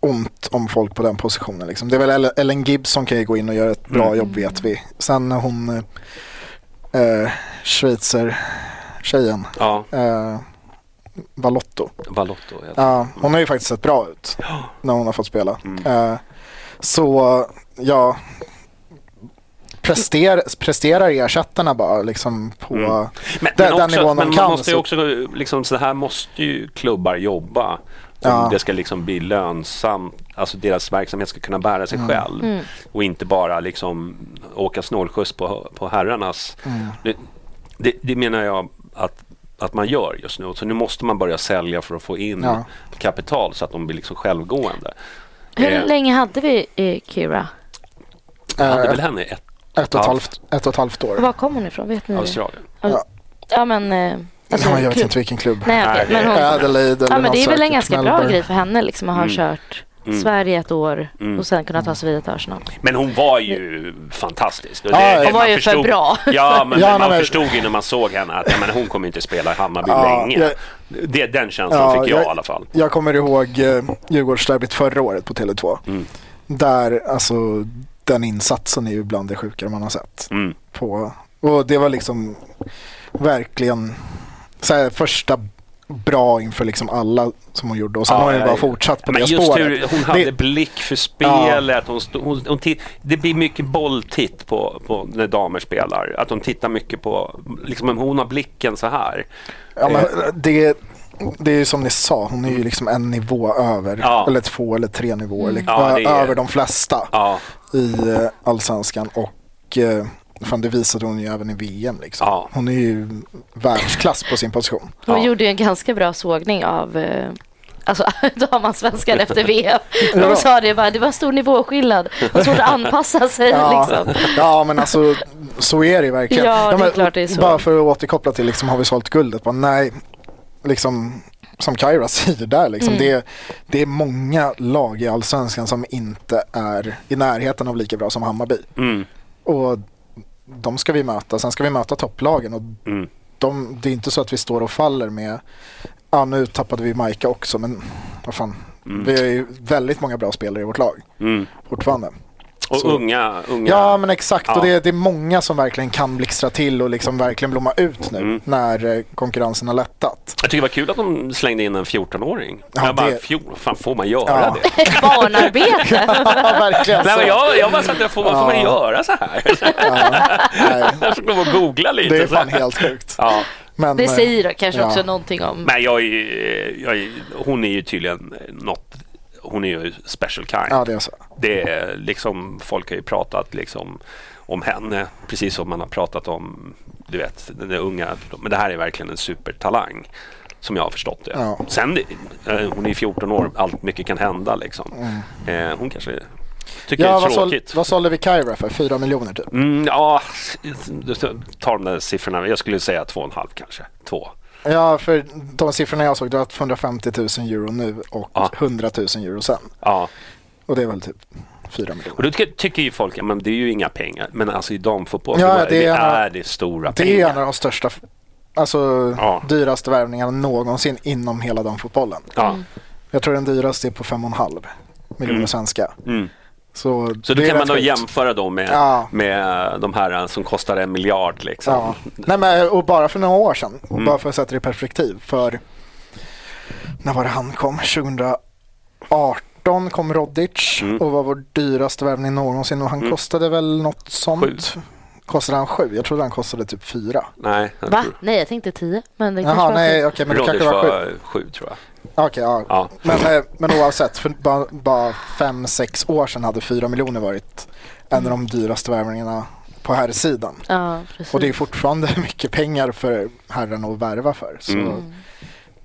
ont om folk på den positionen. Liksom. Det är väl Ellen- Ellen Gibbs som kan ju gå in och göra ett bra Mm. jobb vet vi. Sen hon eh, eh, schweizertjejen Ja, eh, Valotto. Valotto. heter det. Ja, hon har ju faktiskt sett bra ut när hon har fått spela. Eh, så ja, prester, presterar ersättarna bara liksom på Men, den, men, den också, nivån men man de kan. måste ju så- också, liksom, så här måste ju klubbar jobba. Om Ja. det ska liksom bli lönsamt, alltså deras verksamhet ska kunna bära Mm. sig själv. Mm. Och inte bara liksom åka snålskjuts på, på herrarnas. Mm. Det, det, det menar jag att, att man gör just nu. Så nu måste man börja sälja för att få in Ja. kapital så att de blir liksom självgående. Hur Eh, länge hade vi eh, Kira? Hade eh, väl henne ett ett, och ett, halvt, ett och ett halvt år. Var kom hon ifrån? Vet ni det? Australien? Ja, men... eh, alltså, Ja, jag vet klubb. inte vilken klubb. Nej, okej, Nej, det- men hon... Adelaide eller Ja, men något det är väl en säkert, ganska bra Melbourne. grej för henne liksom, att Mm. ha kört Sverige ett år och sen kunna ta sig vidare till Arsenal. Men hon var ju fantastisk. Och Ja, ja. man Hon var ju för bra. Ja, men, Ja, men man men- förstod ju när man såg henne att nej, men hon kommer inte spela i Hammarby Ja, länge. jag- Det, den känslan fick jag i alla fall. Jag kommer ihåg eh, Djurgårdsderbyt förra året på Tele2. Där, alltså, den insatsen är ju bland det sjukare man har sett. Mm. På, och det var liksom verkligen så här, första bra inför liksom alla som hon gjorde. Och sen Ja, har hon ju ja, bara ja. fortsatt på men det just spåret. Hur, hon hade det, blick för spelet. Hon stod, hon, hon titt, det blir mycket bolltitt på, på när damer spelar. Att de tittar mycket på... Liksom, hon har blicken så här. ja, men, det, det är ju som ni sa, hon är ju liksom en nivå över. Ja. Eller två eller tre nivåer. Liksom, Ja, det är- Över de flesta. Ja, i eh, allsvanskan och eh, fan, det visade hon ju även i VM. Liksom. Ja. Hon är ju världsklass på sin position. Hon Ja. gjorde ju en ganska bra sågning av eh, Alltså damallsvenskan efter VM. Hon Ja. sa det bara, det var en stor nivåskillnad. Det var svårt att anpassa sig Ja, liksom. ja men alltså så är det ju verkligen. Ja, det är men, klart det är så. Bara för att återkoppla till liksom, har vi sålt guldet? Bara, nej, liksom som Kaira säger där, liksom, Mm. det, är- det är många lag i allsvenskan som inte är i närheten av lika bra som Hammarby. Mm, Och de ska vi möta. Sen ska vi möta topplagen och mm. de, det är inte så att vi står och faller med Ja, nu tappade vi Majka också, men vad fan. Vi har ju väldigt många bra spelare i vårt lag fortfarande. och Så- unga, unga. Ja, men exakt. Ja. Och det, är- det är många som verkligen kan blixtra till och liksom verkligen blomma ut nu Mm. när eh, konkurrensen har lättat. Jag tycker det var kul att de slängde in en 14-åring. Ja, jag bara, det- 14, fan får man göra Ja. det? Barnarbete. Ja, verkligen. Nej, så. men jag, jag bara satt där, får man, får man göra så här? Nej, Jag fick lov att googla lite. det är så här. fan helt sjukt. Ja. Men, Det eh, säger då kanske Ja. också någonting om... Men jag är, ju- jag är, hon är ju tydligen något, hon är ju special kind. Ja, det är så. Det är liksom, folk har ju pratat liksom om henne, precis som man har pratat om, du vet, den där unga. Men det här är verkligen en supertalang, som jag har förstått det. Ja. Sen, eh, hon är 14 år, allt mycket kan hända liksom. Eh, Hon kanske tycker Mm. Ja, det är vad, sål, tråkigt. vad sålde vi Kyra för? Fyra miljoner typ? Mm, ja, ta de där siffrorna. Jag skulle säga två och en halv kanske. Två. Ja, för de siffrorna jag såg, det var 250 000 euro nu och Ja. 100 000 euro sen. Ja. Och det är väl typ 4 Och miljoner. då ty- tycker ju folk, ja, men det är ju inga pengar. Men alltså i damfotboll Ja, då är det det, är- är det stora Det är pengar. en av de största, alltså Ja. dyraste värvningarna någonsin inom hela damfotbollen. Ja. Jag tror den dyraste är på 5,5 miljoner svenska. Mm. Så, Så det då är kan man rätt då sjukt. jämföra dem med, Ja. med eh, de här som kostar en miljard. Liksom. Ja. Nej, men, och bara för några år sedan, Mm. och bara för att sätta det i perspektiv. För när var det han kom? 2018 kom Rodic Mm. och var vår dyraste värvning någonsin och han kostade väl något sånt. Kostade han sju? Jag trodde han kostade typ fyra. Nej, jag Va? tror- Nej, jag tänkte 10. Men det kanske Jaha, var nej, sjukt. okej, men det Rodic kanske var sju. var sju tror jag. Okej, ja. Ja. Men, eh, men oavsett, för bara, bara fem, sex år sedan hade fyra miljoner varit en av de dyraste värvningarna på här sidan. Ja, precis. Och det är fortfarande mycket pengar för herrarna att värva för. Så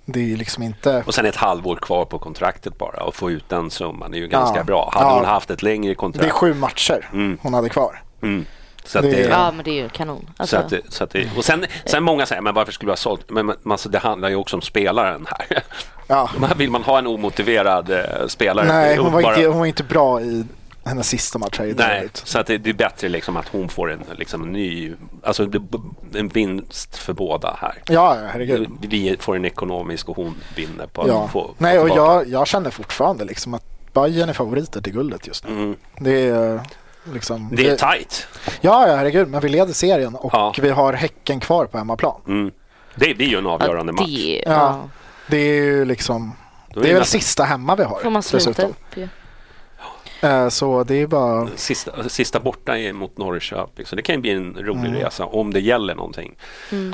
det är ju liksom inte... Mm. Och sen ett halvår kvar på kontraktet bara och få ut den summan är ju ganska Ja. bra. Hade Ja. hon haft ett längre Det är kontrakt. sju matcher Mm. hon hade kvar. Mm. Så att Det är- det, Ja, men det är ju kanon. Alltså, Så att, det- så att det, och sen, sen många säger, men varför skulle du ha sålt? Men men, alltså, det handlar ju också om spelaren här. Ja. Men Vill man ha en omotiverad eh, spelare? Nej, hon var, bara- inte, hon var inte bra i hennes sista match här i Nej, derbyt. så att det, det är bättre liksom att hon får en liksom, en ny, alltså det- en vinst för båda här. Ja, ja, herregud. Vi får en ekonomisk och hon vinner på Ja. att få, Nej, få och tillbaka. jag, jag känner fortfarande liksom att Bayern är favoriter till guldet just nu. Det är eh, liksom... Mm. Det är tight. Ja, ja, herregud, men vi leder serien och Ja. vi har Häcken kvar på hemmaplan. Mm. Det blir ju en ja, avgörande match. det, Ja. ja. Det är ju liksom... Då är det det är väl nästan- sista hemma vi har. Får man sluta dessutom. upp ju. Eh, Så det är bara... Sista, sista borta är mot Norrköping, så det kan ju bli en rolig resa om det gäller någonting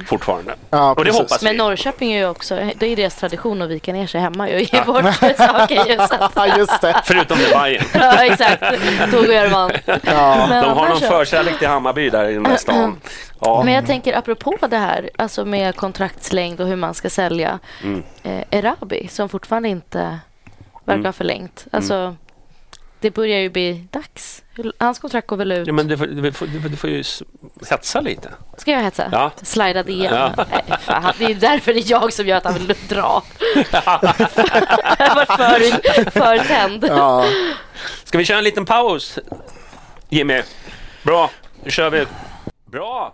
fortfarande. Mm. Ja, och det precis. hoppas vi. Mm. Men Norrköping är ju också, det är ju deras tradition att vika ner sig hemma och ge bort saker ju. Så att, Ja, just det. Förutom det Bayern. ja, exakt. Då gör man. Ja. De har någon annars så- förkärlek till Hammarby där i den där stan. Ja. Men jag tänker apropå det här, alltså med kontraktslängd och hur man ska sälja. Mm. Eh, Erabi som fortfarande inte Mm. verkar ha förlängt. Alltså, det börjar ju bli dags. Hur- Hans kontrakt går väl ut. Ja, men du, får, du, får, du får- du får ju s- hetsa lite. Ska jag hetsa? Ja. Slida det igen? Ja. Nej, fan. Det är därför det är jag som gör att han vill dra. jag har varit för, för tänd. Ja. Ska vi köra en liten paus, Jimmy? Bra, nu kör vi. Bra!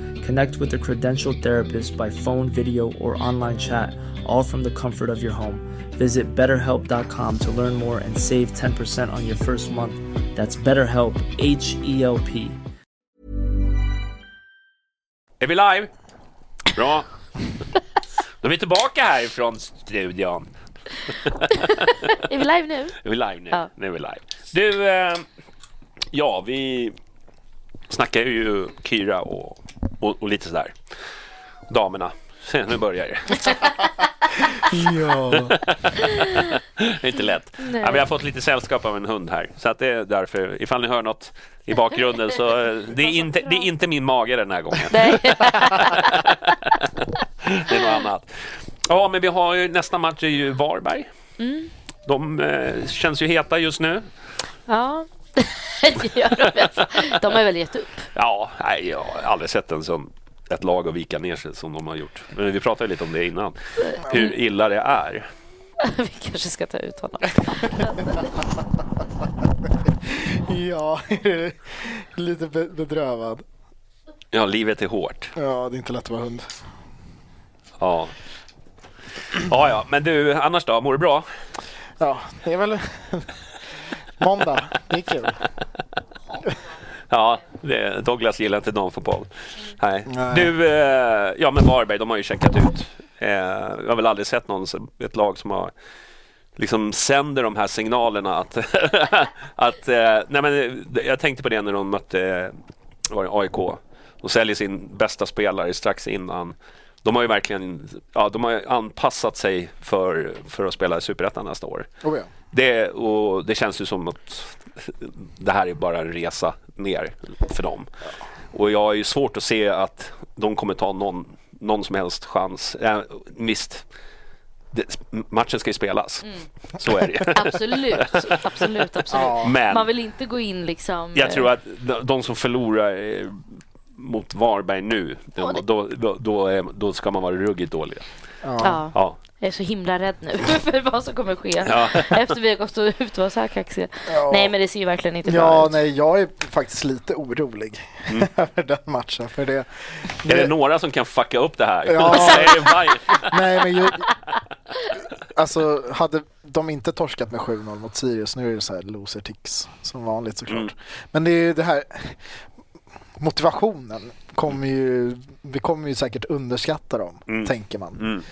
Connect with a credentialed therapist by phone, video, or online chat, all from the comfort of your home. Visit betterhelp.com to learn more and save 10% on your first month. That's BetterHelp, H E L P. Är vi live? Bra. Då är vi tillbaka här från studion. Är vi live nu? Är vi live nu? Ja. Nu är vi live. Du, eh, ja, vi snackar ju Kyra och, och, och lite sådär. Damerna. Se, Nu börjar det. ja. Det är inte lätt. Ja, vi har fått lite sällskap av en hund här. Så att det är därför, ifall ni hör något i bakgrunden så eh, det är inte, det är inte min mage den här gången. Nej. Det är något annat. Ja, men vi har ju, nästa Mm. match är ju Varberg. De eh, känns ju heta just nu. Ja, Det gör de, väl. de har väl gett upp. Ja, nej, jag har aldrig sett en sån, ett lag att vika ner sig som de har gjort. Men vi pratade lite om det innan, hur illa det är. Vi kanske ska ta ut honom. Ja, lite be- bedrövad. Ja, livet är hårt. Ja, det är inte lätt att vara hund. Ja. Ja, ja, men du, annars då? Mår du bra? Ja, det är väl måndag. Det är kul. Ja, det, Douglas gillar inte damfotboll. Nej. Nej. Du, eh, ja men Varberg, de har ju checkat ut. Eh, Jag har väl aldrig sett någon, som- ett lag som har liksom sänder de här signalerna att, att eh, nej men eh, jag tänkte på det när de mötte eh, var det AIK. De säljer sin bästa spelare strax innan. De har ju verkligen ja, de har ju anpassat sig för, för att spela i Superettan nästa år. Oh, ja. Det, och det känns ju som att det här är bara en resa ner för dem. Och jag är ju svårt att se att de kommer ta någon, någon som helst chans. Eh, visst, det, matchen ska ju spelas. Så är det ju. Absolut, absolut, absolut. Men Man vill inte gå in liksom... jag tror att de, de som förlorar eh, mot Varberg nu, de, då, då, då, är- då ska man vara ruggigt dåliga. eh, Ja. Ja. Jag är så himla rädd nu för vad som kommer ske efter vi har gått ut och var så här kaxiga. Nej, men det ser ju verkligen inte bra ja, ut. nej, jag är faktiskt lite orolig över den matchen. För det, Mm. Är det några som kan fucka upp det här? Ja. Så är det Bayern. Nej, men ju, alltså hade de inte torskat med 7-0 mot Sirius, nu är det så här loser ticks som vanligt såklart. Men det är ju det här motivationen kommer ju, vi kommer ju säkert underskatta dem, tänker man. Mm.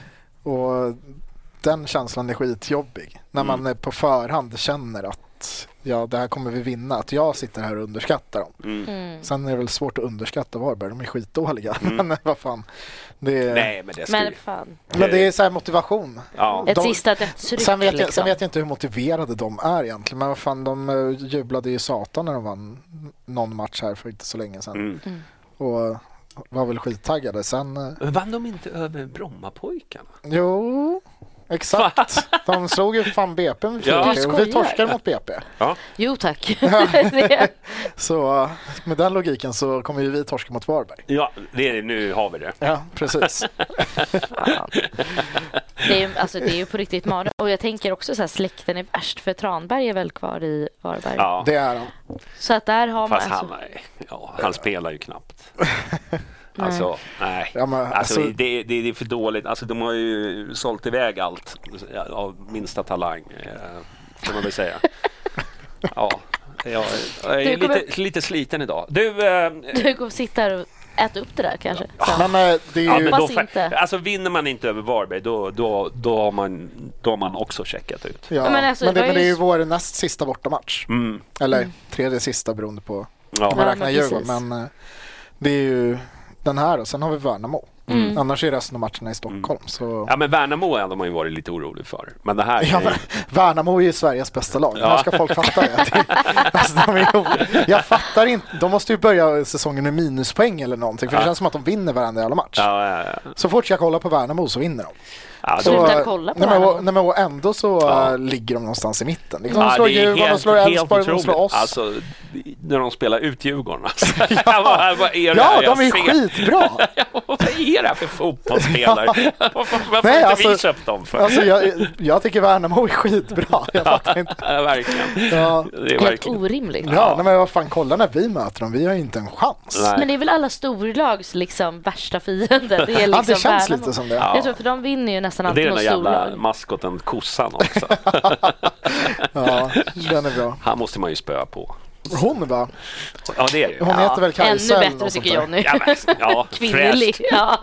Och den känslan är skitjobbig. När man eh, på förhand känner att ja, det här kommer vi vinna. Att jag sitter här och underskattar dem. Sen är det väl svårt att underskatta Varberg, de är skitdåliga. Men vad fan. Det är... Nej, men det ska Men ju... fan, Men det är så här motivation. Ja. ett De- sista dödsryck Sen vet, jag, liksom. sen vet jag inte hur motiverade de är egentligen. Men vad fan, de eh, jublade ju satan när de vann någon match här för inte så länge sedan. Mm. Och var väl skittaggade. Sen, eh, Vann de inte över Brommapojkarna? jo, exakt. De slog ju fan BP med Ja. ja. Du och vi skojar. torskade mot BP. Jo tack. Så eh, med den logiken så kommer ju vi torska mot Varberg. Ja, det är, nu har vi det. Ja, precis. Det är, alltså, det är ju på riktigt mardröm. Och jag tänker också så här, släkten är värst för Tranberg är väl kvar i Varberg. Ja, Det är de. Så att där har man... fast alltså, han, är- ja, han spelar ju knappt. Alltså, nej. Ja, men, alltså, alltså- det, det, det är för dåligt. Alltså, de har ju sålt iväg allt av minsta talang, eh, kan man väl säga. Ja, jag, jag är Du kommer- lite, lite sliten idag. Du, eh, Du kommer sitta här och äta upp det där kanske. Så. Men eh, det är ja, ju... men då, Hoppas inte. alltså, vinner man inte över Varberg, då, då, då, har man, då har man också checkat ut. Ja, men, Men alltså, det, det var men det är ju- ju vår näst sista bortamatch. Mm. Eller tredje sista beroende på Ja. om man Ja, räknar men Djurgården. precis. Men eh, det är ju den här och sen har vi Värnamo. Mm. Mm. Annars är resten av matcherna i Stockholm. Så... Mm. Ja, men Värnamo hade man ju varit lite orolig för. Men det här... Ja, men, Värnamo är ju Sveriges bästa lag. När ska folk fatta det? Det är- alltså, de är ju- jag fattar inte. De måste ju börja säsongen med minuspoäng eller någonting. För det känns som att de vinner varenda jävla match. Ja, ja, ja. Så fort jag kollar på Värnamo så vinner de. Ja, Så- det- Sluta kolla på nej, men, Värnamo. och, nej, men, och ändå så eh, ligger de någonstans i mitten. Liksom, Ja, de slår det är Djurgården, de helt- slår helt Elfsborg, de slår otroligt. oss. Alltså, när de spelar ut Djurgården. Alltså. Vad- vad är det ja, här jag de är ser? skitbra. Vad är det här för fotbollsspelare? Varför varför har Nej, inte vi alltså- köpt dem för? Alltså, jag, jag tycker Värnamo är skitbra. Jag fattar inte. Ja, verkligen. Ja, Det är Helt verkligen. orimligt. ja nej, men vad fan, kolla när vi möter dem. Vi har ju inte en chans. Nej. Men det är väl alla storlags liksom värsta fiende. Det är liksom ja, det känns Värnamo. lite som det. Jag tror för de vinner ju nästan Och Det alltid är den mot där jävla storlag. maskoten kossan också. Ja, den är bra. Han måste man ju spöa på. Hon va? Ja, det är det ju. Hon heter väl Ännu Kajsa eller bättre något sånt tycker där. jag nu. Ja, men, ja, Kvinnlig. fräscht Ja.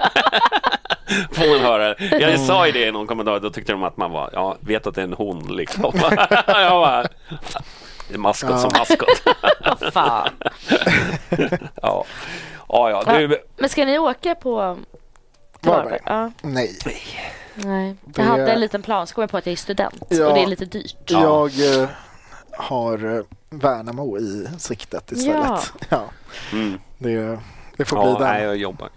får man höra. det. Jag Mm. sa ju det i någon kommentar, då tyckte de att man var, ja, vet att det är en hon liksom. Jag bara, det är maskot som maskot. Fan. Ja, ja, ja du, Men ska ni åka på till Varberg. Varberg? Ja. Nej. Nej. Det- Jag hade en liten plan, så kom jag på att jag är student Ja. och det är lite dyrt. Jag eh, har eh, Värnamo i siktet istället. Ja. Det, det får Mm. ja, bli nej, den. jag jobbar.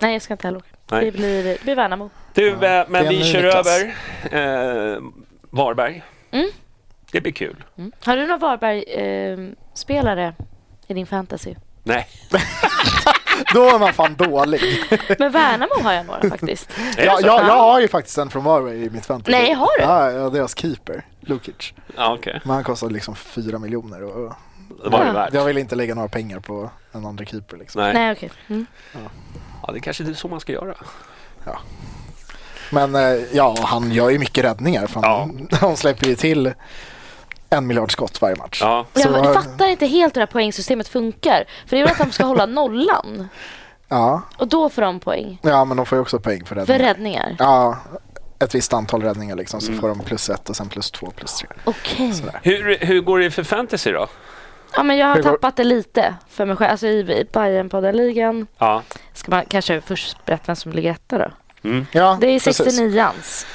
Nej, jag ska inte heller åka. Nej. Det blir, det blir Värnamo. Du, eh, men det är vi nu, kör Niklas. över eh, Varberg. Det blir kul. Mm. Har du någon Varberg-spelare i din fantasy? Nej, Då är man fan dålig. Men Värnamo har jag några faktiskt. det Ja, så? jag, jag har ju faktiskt en från Varberg i mitt fantasy. Nej, har du? Ja, ja, deras keeper, Lukic. ja, okej. Men han kostar liksom fyra miljoner och Det var det jag värt. vill inte lägga några pengar på en andra keeper. Liksom. Nej. Nej, okej. Mm. Ja, det kanske inte är så man ska göra. Men eh, ja, han gör ju mycket räddningar. För han, han släpper ju till en miljard skott varje match. Ja, Så- Jag fattar inte helt hur det här poängsystemet funkar. För det är väl att de ska hålla nollan Ja, och då får de poäng ja, men de får ju också poäng för för räddningar. räddningar. Ja, ett visst antal räddningar liksom. Mm. Så får de plus ett och sen plus två, plus tre. Okej. Sådär. hur, hur går det för fantasy då? Ja, men jag har Hur går- tappat det lite för mig själv. Alltså i Bajenpodden-ligan. Ja, Ska man kanske först berätta vem som ligger etta då? Ja, Det är precis. 69ans.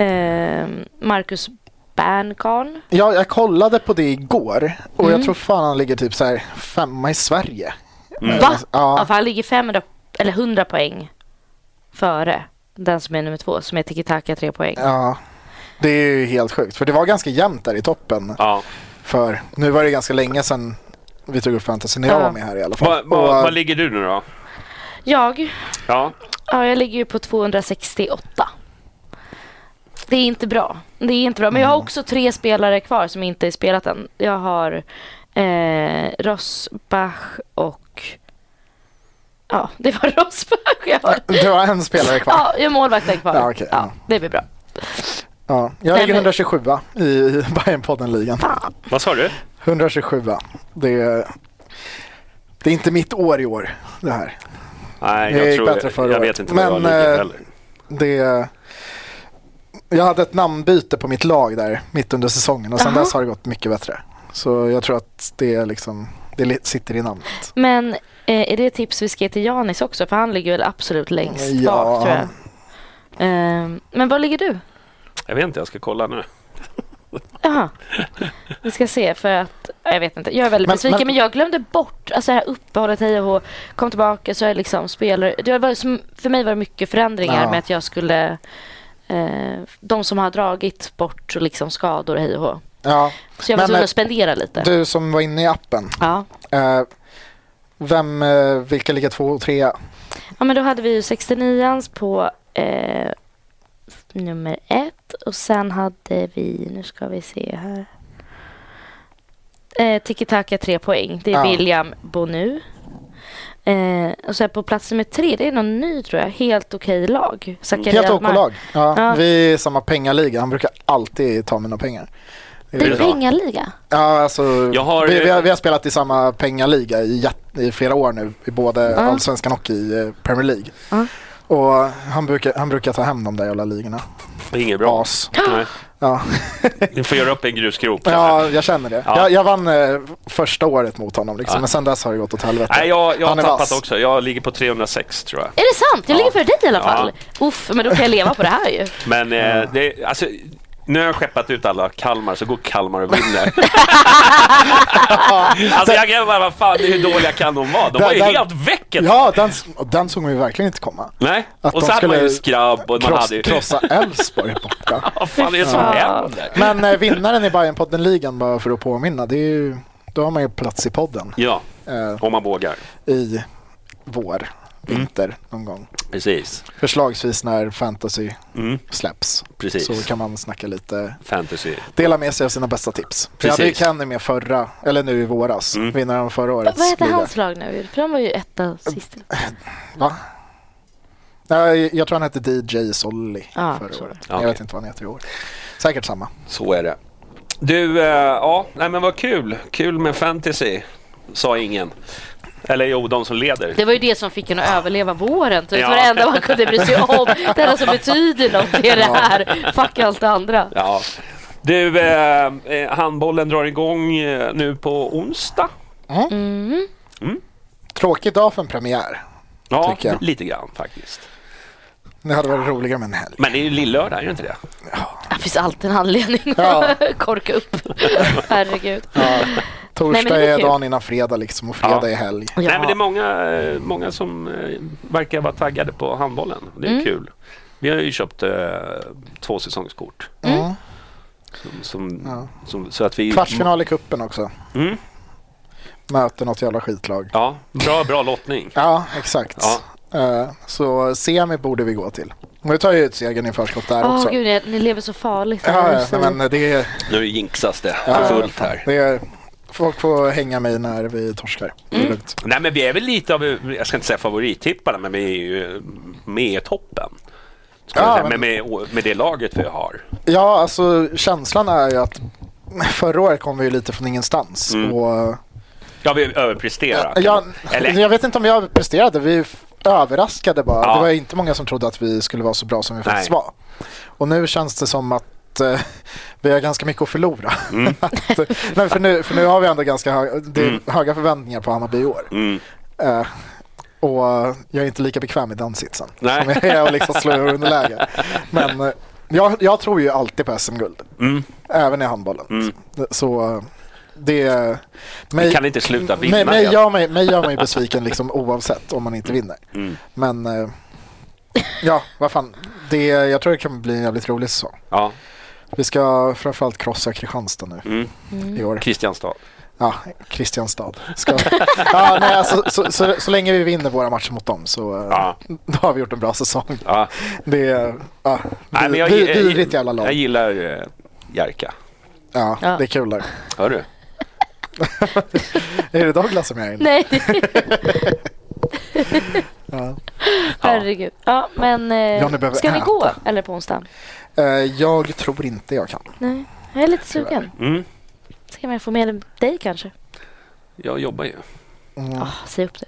Eh, Marcus Bernkarn. Ja, jag kollade på det igår och Mm. jag tror fan han ligger typ så här femma i Sverige. Va? Ja. Mm. Ja, för han ligger 500, eller 100 poäng före den som är nummer två, som är Tiki Taka, tre poäng. ja. Det är ju helt sjukt. För det var ganska jämnt där i toppen. ja. För nu var det ganska länge sedan vi tog upp fantasy när jag Ja. var med här i alla fall. Vad Och, va, vad ligger du nu då? Jag, Ja, ja, jag ligger ju på 268. Det är inte bra. Det är inte bra. Men jag har Mm. också tre spelare kvar som inte är spelat än. Jag har eh, Rosbach och... Ja, det var Rosbach jag har. du har en spelare kvar. Ja, jag har målvakten kvar. Ja, okej, ja. det blir bra. Ja. Jag Nej, ligger men- 127 i i Bajenpodden-ligan. vad sa du? 127 det är, det är inte mitt år i år det här. Nej, Det jag, gick tror, bättre förra jag året. vet inte vad jag Men, ligger eh, heller. Det är, jag hade ett namnbyte på mitt lag där mitt under säsongen och sen Jaha. dess har det gått mycket bättre. Så jag tror att det, är liksom, det li- sitter i namnet. Men eh, är det tips vi ska ge till Janis också? För han ligger väl absolut längst Ja, bak tror jag. han- Ehm, men var ligger du? Jag vet inte, jag ska kolla nu. Jaha. Vi ska se för att jag vet inte. Jag är väldigt Men- besviken men, men- jag glömde bort alltså det här uppehållet hej och hå. Kom tillbaka så är jag liksom spelare. Det var som, för mig var det mycket förändringar Ja. med att jag skulle eh, de som har dragit bort och liksom skador hej och hå. Ja, Så jag var Men, tvungen eh, att spendera lite. du som var inne i appen. Ja. Eh, vem, eh, vilka ligger två och trea? Ja, men då hade vi ju 69ans på eh, f- nummer ett och sen hade vi, nu ska vi se här. Eh, Tiki Taka tre poäng. Det är Ja. William Bonu. Eh, och sen på plats nummer tre, det är någon ny tror jag. Helt okej lag. Zacharias Helt OK Mar- lag. Ja, Ja. Vi är i samma pengaliga. Han brukar alltid ta mina pengar. Det Det är är bra. pengaliga. Ja, alltså, Jag har- vi, vi, har, vi har spelat i samma pengaliga i, jätt- i flera år nu, i både Allsvenskan och i eh, Premier League. Ja. Och han brukar, han brukar ta hem de där jävla ligorna. Det är inget bra. As. Nej. Ja. Ni får göra upp en grusgrop. ja, jag känner det. Ja. Jag, jag vann eh, första året mot honom, liksom, men sen dess har det gått åt helvete. Nej, jag, jag har Han är tappat vass. också. Jag ligger på 306 tror jag. Är det sant? Jag Ja. ligger för dig i alla fall. Ja. Uff, men då kan jag leva på det här ju. Men eh, det, alltså, nu har jag skeppat ut alla Kalmar, så går Kalmar och vinner. alltså jag kan bara, vad fan, hur dåliga kan de vara? De var ju Där- där- helt väcket. Ja, den, s- den såg man ju verkligen inte komma. Nej, Att och de så hade man ju skulle skrabb och man Kross, hade ju... Krossa Elfsborg borta. Vad fan är det som Ja. händer? Men eh, vinnaren i Bajenpodden-ligan, bara för att påminna, det är ju, då har man ju plats i podden. Ja, Eh, om man vågar. i vår, Mm. vinter någon gång. Precis, Förslagsvis när fantasy Mm. släpps. Precis. Så kan man snacka lite, fantasy. dela med sig av sina bästa tips. För jag hade ju Precis. Mm. Kenny med förra, eller nu i våras, vinnaren av förra årets Vad heter liga. hans lag nu? För de var ju etta sist. Va? Nej, jag tror han hette DJ Solli Ja, så förra året. var det. Jag Okej. vet inte vad han heter i år. Säkert samma. Så är det. Du, eh, ja, nej men vad kul. Kul med fantasy, sa ingen. Eller jo, de som leder. Det var ju det som fick henne att överleva våren. Typ. Ja. Det var det enda man kunde bry sig om. Det enda som betyder något är det här. Fuck allt det andra. Ja. Du, eh, eh, handbollen drar igång eh, nu på onsdag. Tråkig dag för en premiär. Ja, Tycker jag. lite grann faktiskt. Det hade varit roligare med en helg. Men det är ju lillördag, är det inte det? Det finns alltid en anledning att Ja. korka upp. Herregud. Torsdag det blir är kul. dagen innan fredag liksom och fredag Mm. Ja. är helg. Nej, men det är Ja. många, eh, många som eh, verkar vara taggade på handbollen. Det är kul. Vi har ju köpt eh, två säsongskort. Mm. Som, som, Ja. som, så att vi... Kvartsfinal i kuppen också. Mm. Möter något jävla skitlag. Ja, bra, bra lottning. Ja, exakt. Ja. Eh, Så semi borde vi gå till. Men Vi tar ju ut segern i förskott där Åh också. gud, ni- ni lever så farligt. Ja, ja, nej, men det är, Nu jinxas det för fullt här. det är... Folk får hänga mig när vi torskar. Det är lugnt. Nej, men vi är väl lite av, jag ska inte säga favorittipparna, men vi är ju med i toppen. Ska jag Ja, säga. Men men- med, med det laget vi har. Ja, alltså känslan är ju att förra året kom vi ju lite från ingenstans. Mm. Och, Ja, vi överpresterar. kan jag, man- Eller, jag vet inte om vi överpresterade. Vi f- överraskade bara. Ja. Det var inte många som trodde att vi skulle vara så bra som vi faktiskt Nej. var. Och nu känns det som att eh, vi har ganska mycket att förlora. Mm. att, nej, för, nu, för nu har vi ändå ganska hö- det är höga förväntningar på Hammarby i år. Mm. Eh, och jag är inte lika bekväm i den sitsen. Nej. Som jag är att liksom slå ur underläge. Men eh, jag, jag tror ju alltid på SM-guld. Mm. Även i handbollen. Så eh, det... Vi kan inte sluta vinna Mig, mig, igen. gör mig, mig gör man ju besviken liksom, oavsett om man inte Mm. vinner. Men eh, ja, vad fan. Det, jag tror det kan bli en jävligt rolig säsong. Ja, Vi ska framförallt krossa Kristianstad nu Mm. i år. Kristianstad. Ja, Kristianstad. Ska... ja, nej, alltså, så, så, så länge vi vinner våra matcher mot dem så eh, Ja. då har vi gjort en bra säsong. Ja. Det är ja, Nej, men jag, vi- jag- vidrigt jävla lag. Jag gillar eh, Jerka. ja, Ja. Det är kul. Där. Hör du? Är det Douglas som är inne? Nej, Ja. herregud. Ja, men eh, Ja, ni behöver ska ni äta. gå eller på onsdag? Eh, jag tror inte jag kan. Nej, jag är lite sugen. Mm. Ska man få med dig kanske? Jag jobbar ju. Ah, säg upp det.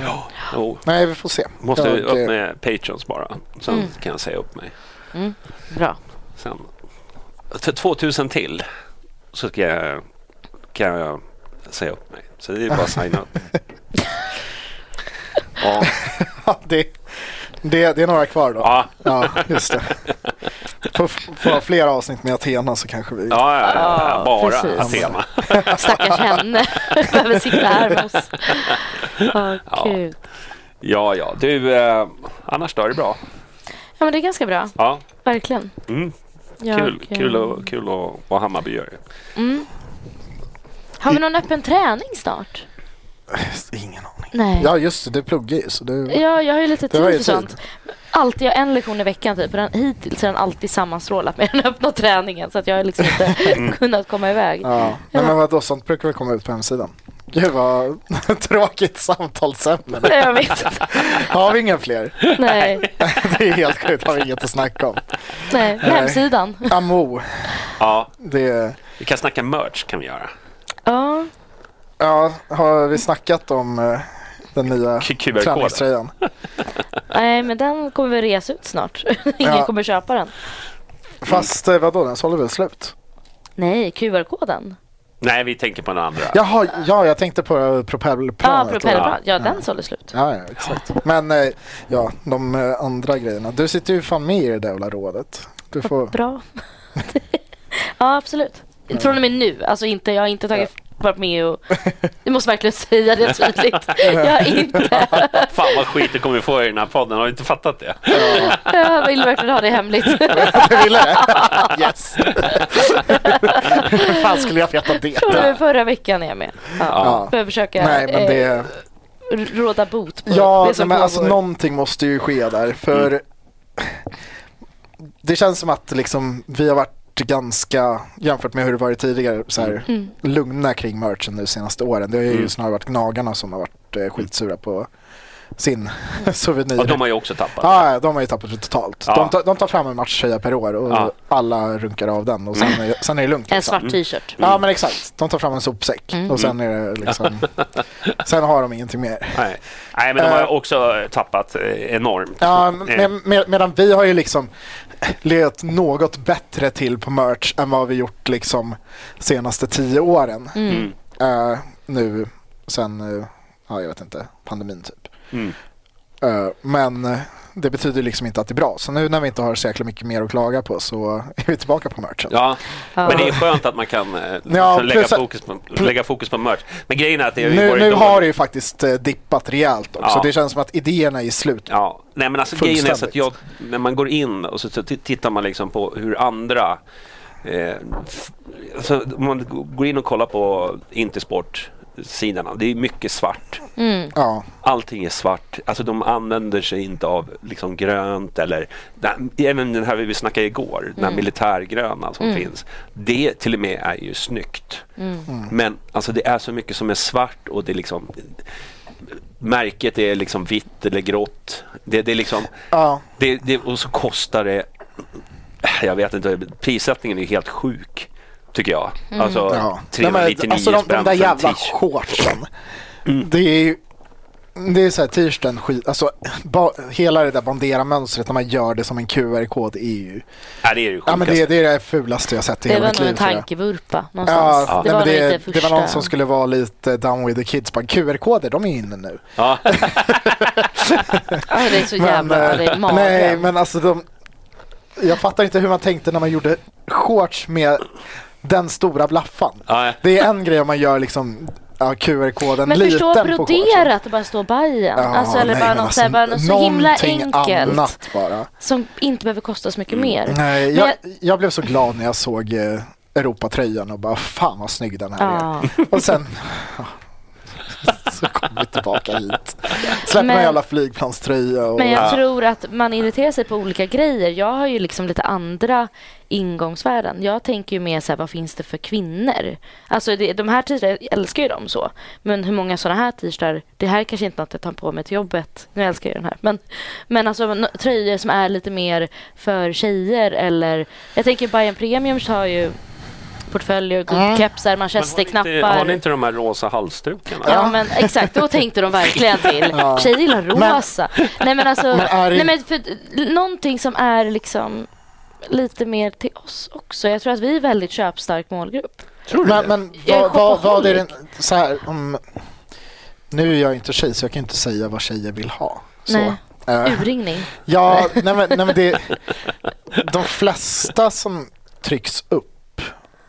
Ja. Jo, Nej, vi får se. måste jag, upp med Patrons bara. Sen kan jag säga upp mig. Mm. Bra. Sen. För 2000 till så ska jag, kan jag säga upp mig. Så det är bara att signa upp. Ja, Ja, det, det, det är några kvar då. ja, Ja, just det. Får, får fler avsnitt med Athena så kanske vi... ja, ja, ja Ja, bara precis. tema. Stackars henne. Behöver sitta här med oss. Ja, kul. Ja, ja, du, eh, annars då är det bra. Ja, men det är ganska bra. Ja, Verkligen. mm, Jag, kul, eh, kul, och, kul och, vad Hammarby gör. Har vi någon öppen träning snart? Ingen aning. Nej. Ja, just det. Du pluggar ju. Så du... Ja, jag har ju lite Det tid var ju för sånt. tid. Alltid, jag har en lektion i veckan typ. och Den, hittills har den alltid sammanstrålat med den öppna träningen. Så att jag har liksom inte Mm. kunnat komma iväg. Ja. Nej, men vadå, sånt brukar väl komma ut på hemsidan? Gud vad tråkigt samtalsämne. Nej, jag vet inte. Har vi inga fler? Nej. Det är helt sjukt, har vi inget att snacka om. Nej. Hemsidan. Amo, Ja, det... vi kan snacka merch kan vi göra. Ja. Ja, har vi snackat om eh, den nya Q- QR-koden. träningströjan? Nej, men den kommer väl resa ut snart. Ingen Ja. kommer köpa den. Fast eh, vadå, den sålde väl slut? Nej, QR-koden. Nej, vi tänker på några andra. Jaha, ja, jag tänkte på propellplanet. Ja, och- propellerplan. Ja, den sålde slut. Ja, ja, exakt. Men eh, ja, de eh, andra grejerna. Du sitter ju fan med i det där jävla rådet. Du får... Bra. ja, absolut. Från och med nu. Alltså inte, jag har inte tagit varit med och... Jag måste verkligen säga det tydligt. Jag har inte... Fan vad skit du kommer få i den här podden, har du inte fattat det? Jag vill verkligen ha det hemligt. Du ville det? Yes! Hur fan skulle jag veta det? Från och med förra veckan är jag med. Ja. Ja. För att försöka Nej, men eh, det... råda bot på Ja, det nej, som men pågår. alltså någonting måste ju ske där. För det känns som att liksom, vi har varit ganska, jämfört med hur det varit tidigare, så Mm. här, lugna kring merchen nu de senaste åren. Det har ju snarare varit gnagarna som har varit eh, skitsura på sin souvenir. Ja, de har ju också tappat. Ja, ja, de har ju tappat det totalt. Ja. De, tar, de tar fram en matchtröja per år och Ja. Mm. alla runkar av den och sen, är, sen är det lugnt. En Liksom. svart Mm. t-shirt. Ja men exakt, de tar fram en sopsäck och sen Mm. är det liksom, sen har de ingenting mer. Nej. Nej, men de har Eh. också tappat eh, enormt. Ja, Eh, med, med, medan vi har ju liksom legat något bättre till på merch än vad vi gjort liksom senaste tio åren. Mm. Eh, nu sen, eh, ja jag vet inte, pandemin typ. Mm. Eh, men eh, det betyder liksom inte att det är bra. Så nu när vi inte har så jäkla mycket mer att klaga på så är vi tillbaka på merchen. Ja, men det är skönt att man kan eh, Ja, lägga, plus att- fokus på, lägga fokus på merch. Men grejen är att det har ju Nu, varit nu dåligt. har det ju faktiskt eh, dippat rejält också. Ja. Det känns som att idéerna är slut. Ja, nej men alltså grejen är så att jag, Fullständigt. när man går in och så, så t- tittar man liksom på hur andra Eh, f- så om man går in och kollar på Intersport-sidorna, det är mycket svart. Ja, Allting är svart. Alltså de använder sig inte av liksom grönt eller den- även den här vi snackade igår, den här militärgröna som finns. Det till och med är ju snyggt. Mm. Men alltså det är så mycket som är svart och det är liksom märket är liksom vitt eller grått. Det, det är liksom ja. det, det, och så kostar det... Jag vet inte, prissättningen är helt sjuk. Tycker jag. Alltså ja. Nej, men 399 alltså de, de spänn där för en jävla t-shirt. shortsen. Det är ju det är så här t-shirten skit. Alltså, ba, hela det där bandera-mönstret när man gör det som en QR-kod är ju... Ja, det är det Ja, men det, det är det fulaste jag sett i Det hela var mitt nog liv. en tror jag. tankevurpa någonstans. Ja, Det, nej, men var nog det, inte det första. var någon som skulle vara lite down with the kids. Bara, QR-koder, de är inne nu. Ja. Aj, det är så jävla... eh, ja, det är magen. nej, men alltså de... Jag fattar inte hur man tänkte när man gjorde shorts med den stora blaffan. Ja, Det är en grej om man gör liksom ja, QR-koden Men liten förstå på shortsen. broderat att det bara står Bajen. alltså, eller nej, bara men något så, här, bara något så himla någonting enkelt. annat bara. Som inte behöver kosta så mycket mer. Nej, Men jag, jag- jag blev så glad när jag såg eh, Europatröjan och bara fan vad snygg den här Ja. är. Och sen ja, så kom vi tillbaka hit. Släpp någon Men- jävla flygplanströja och Men jag tror att man irriterar sig på olika grejer. Jag har ju liksom lite andra ingångsvärden. Jag tänker ju mer så här, vad finns det för kvinnor? Alltså det, de här t-shirtarna, jag älskar ju dem så. Men hur många sådana här t-shirtar, det här är kanske inte något jag tar på mig till jobbet. Nu älskar jag den här. Men, men alltså n- tröjor som är lite mer för tjejer eller, jag tänker Bayern Premiums har ju portföljer, kepsar, Mm. Men har, ni inte, har ni manchesterknappar. inte de här rosa halsdukarna? Ja, men exakt, då tänkte de verkligen till. Tjejer gillar rosa. nej men alltså, Men är det- nej, men för, någonting som är liksom lite mer till oss också. Jag tror att vi är en väldigt köpstark målgrupp. Tror du Men, det? men Jag är vad, vad, vad är det shopaholic. så här om nu är jag inte tjej så jag kan inte säga vad tjejer vill ha. Så. Nej. Eh, Urringning. ja, nej men, nej men det de flesta som trycks upp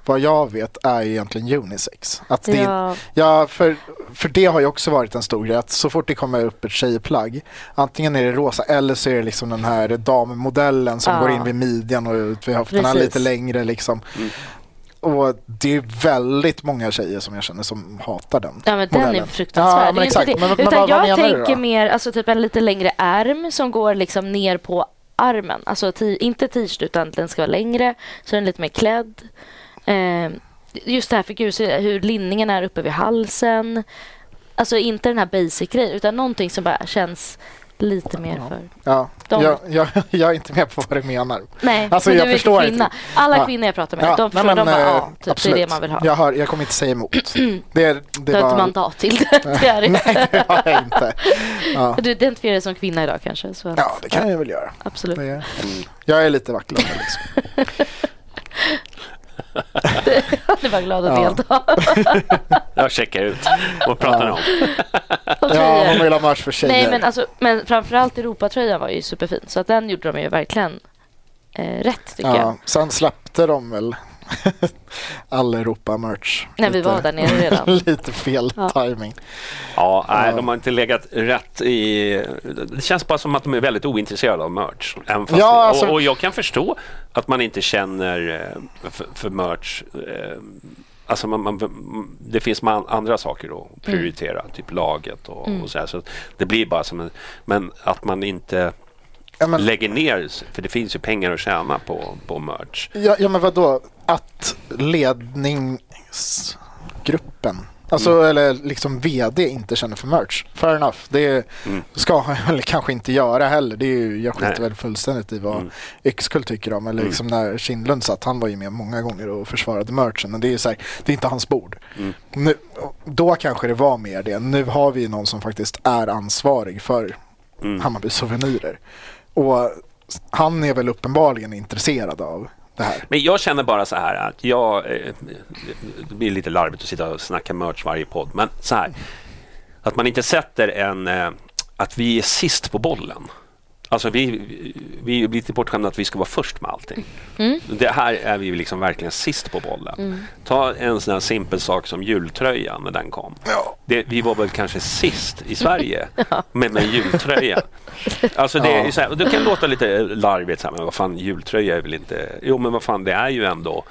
vad jag vet är ju egentligen unisex. Att det, Ja. Ja, för, för det har ju också varit en stor grej. Att så fort det kommer upp ett tjejplagg, antingen är det rosa eller så är det liksom den här dammodellen som Ja. går in vid midjan och ut vid höfterna Precis. Mm. lite längre. Liksom. Och det är väldigt många tjejer som jag känner som hatar den Ja men den är modellen. fruktansvärd. Ja, men det är exakt. inte det. Men, men Utan vad, vad jag menar du tänker då? mer, alltså typ en lite längre ärm som går liksom ner på armen. Alltså ti- inte t-shirt utan den ska vara längre. Så den är lite mer klädd. Eh, just det här figur, hur linningen är uppe vid halsen. Alltså inte den här basic-grejen utan någonting som bara känns lite mer för... Ja, De- jag, jag, jag är inte med på vad du menar. Nej, Alltså, men jag du är förstår kvinna. inte. Alla Ja. kvinnor jag pratar med, de nej, förstår, de bara, eh, ja, typ, det är absolut. det man vill ha. Jag, hör, jag kommer inte säga emot. Det är, det du är har inte bara... mandat till det. det är det. Nej, det har jag inte. Ja. Du identifierar dig som kvinna idag kanske? Så att, Ja, det kan jag väl göra. Absolut. Det är, jag är lite vacklande. Liksom. Jag är bara glad att Ja. delta. Jag checkar ut. Vad pratar ni om? Och Ja, tröjor. man vill ha merch för tjejer. Nej, men, alltså, men framförallt Europatröjan var ju superfin. Så att den gjorde de ju verkligen eh, rätt, tycker jag. ja, sen släppte de väl all Europa-merch. När vi var där nere redan. lite fel Ja. timing. Ja, nej, de har inte legat rätt i... Det känns bara som att de är väldigt ointresserade av merch. Även fast Ja, alltså- och, och jag kan förstå att man inte känner eh, för, för merch. eh, Alltså man, man, det finns man andra saker Mm. att prioritera, typ laget och, och så, här, så Det blir bara som en... Men att man inte Ja, men, lägger ner, för det finns ju pengar att tjäna på, på merch. ja, ja, men vadå? Att ledningsgruppen Alltså eller liksom VD inte känner för merch. Fair enough. Det är, ska han väl kanske inte göra heller. Det är ju, jag skiter Nej. väl fullständigt i vad Mm. Yxkull tycker om. Eller liksom när Kindlund satt, han var ju med många gånger och försvarade merchen. Men det är ju så här, det är inte hans bord. Mm. Nu, då kanske det var mer det. Nu har vi ju någon som faktiskt är ansvarig för Mm. Hammarby Souvenirer. Och han är väl uppenbarligen intresserad av det här. Men jag känner bara så här att jag... eh, Det blir lite larvigt att sitta och snacka merch varje podd, men så här. Att man inte sätter en... eh, Att vi är sist på bollen. Alltså vi, vi- vi blir lite bortskämda att vi ska vara först med allting. Mm. Det här är vi ju liksom verkligen sist på bollen. Ta en sån här simpel sak som jultröjan när den kom. Det, vi var väl kanske sist i Sverige med, med jultröja. Alltså det, är ju så här, och det kan låta lite larvigt, så här, men vad fan jultröja är väl inte... Jo men vad fan det är ju ändå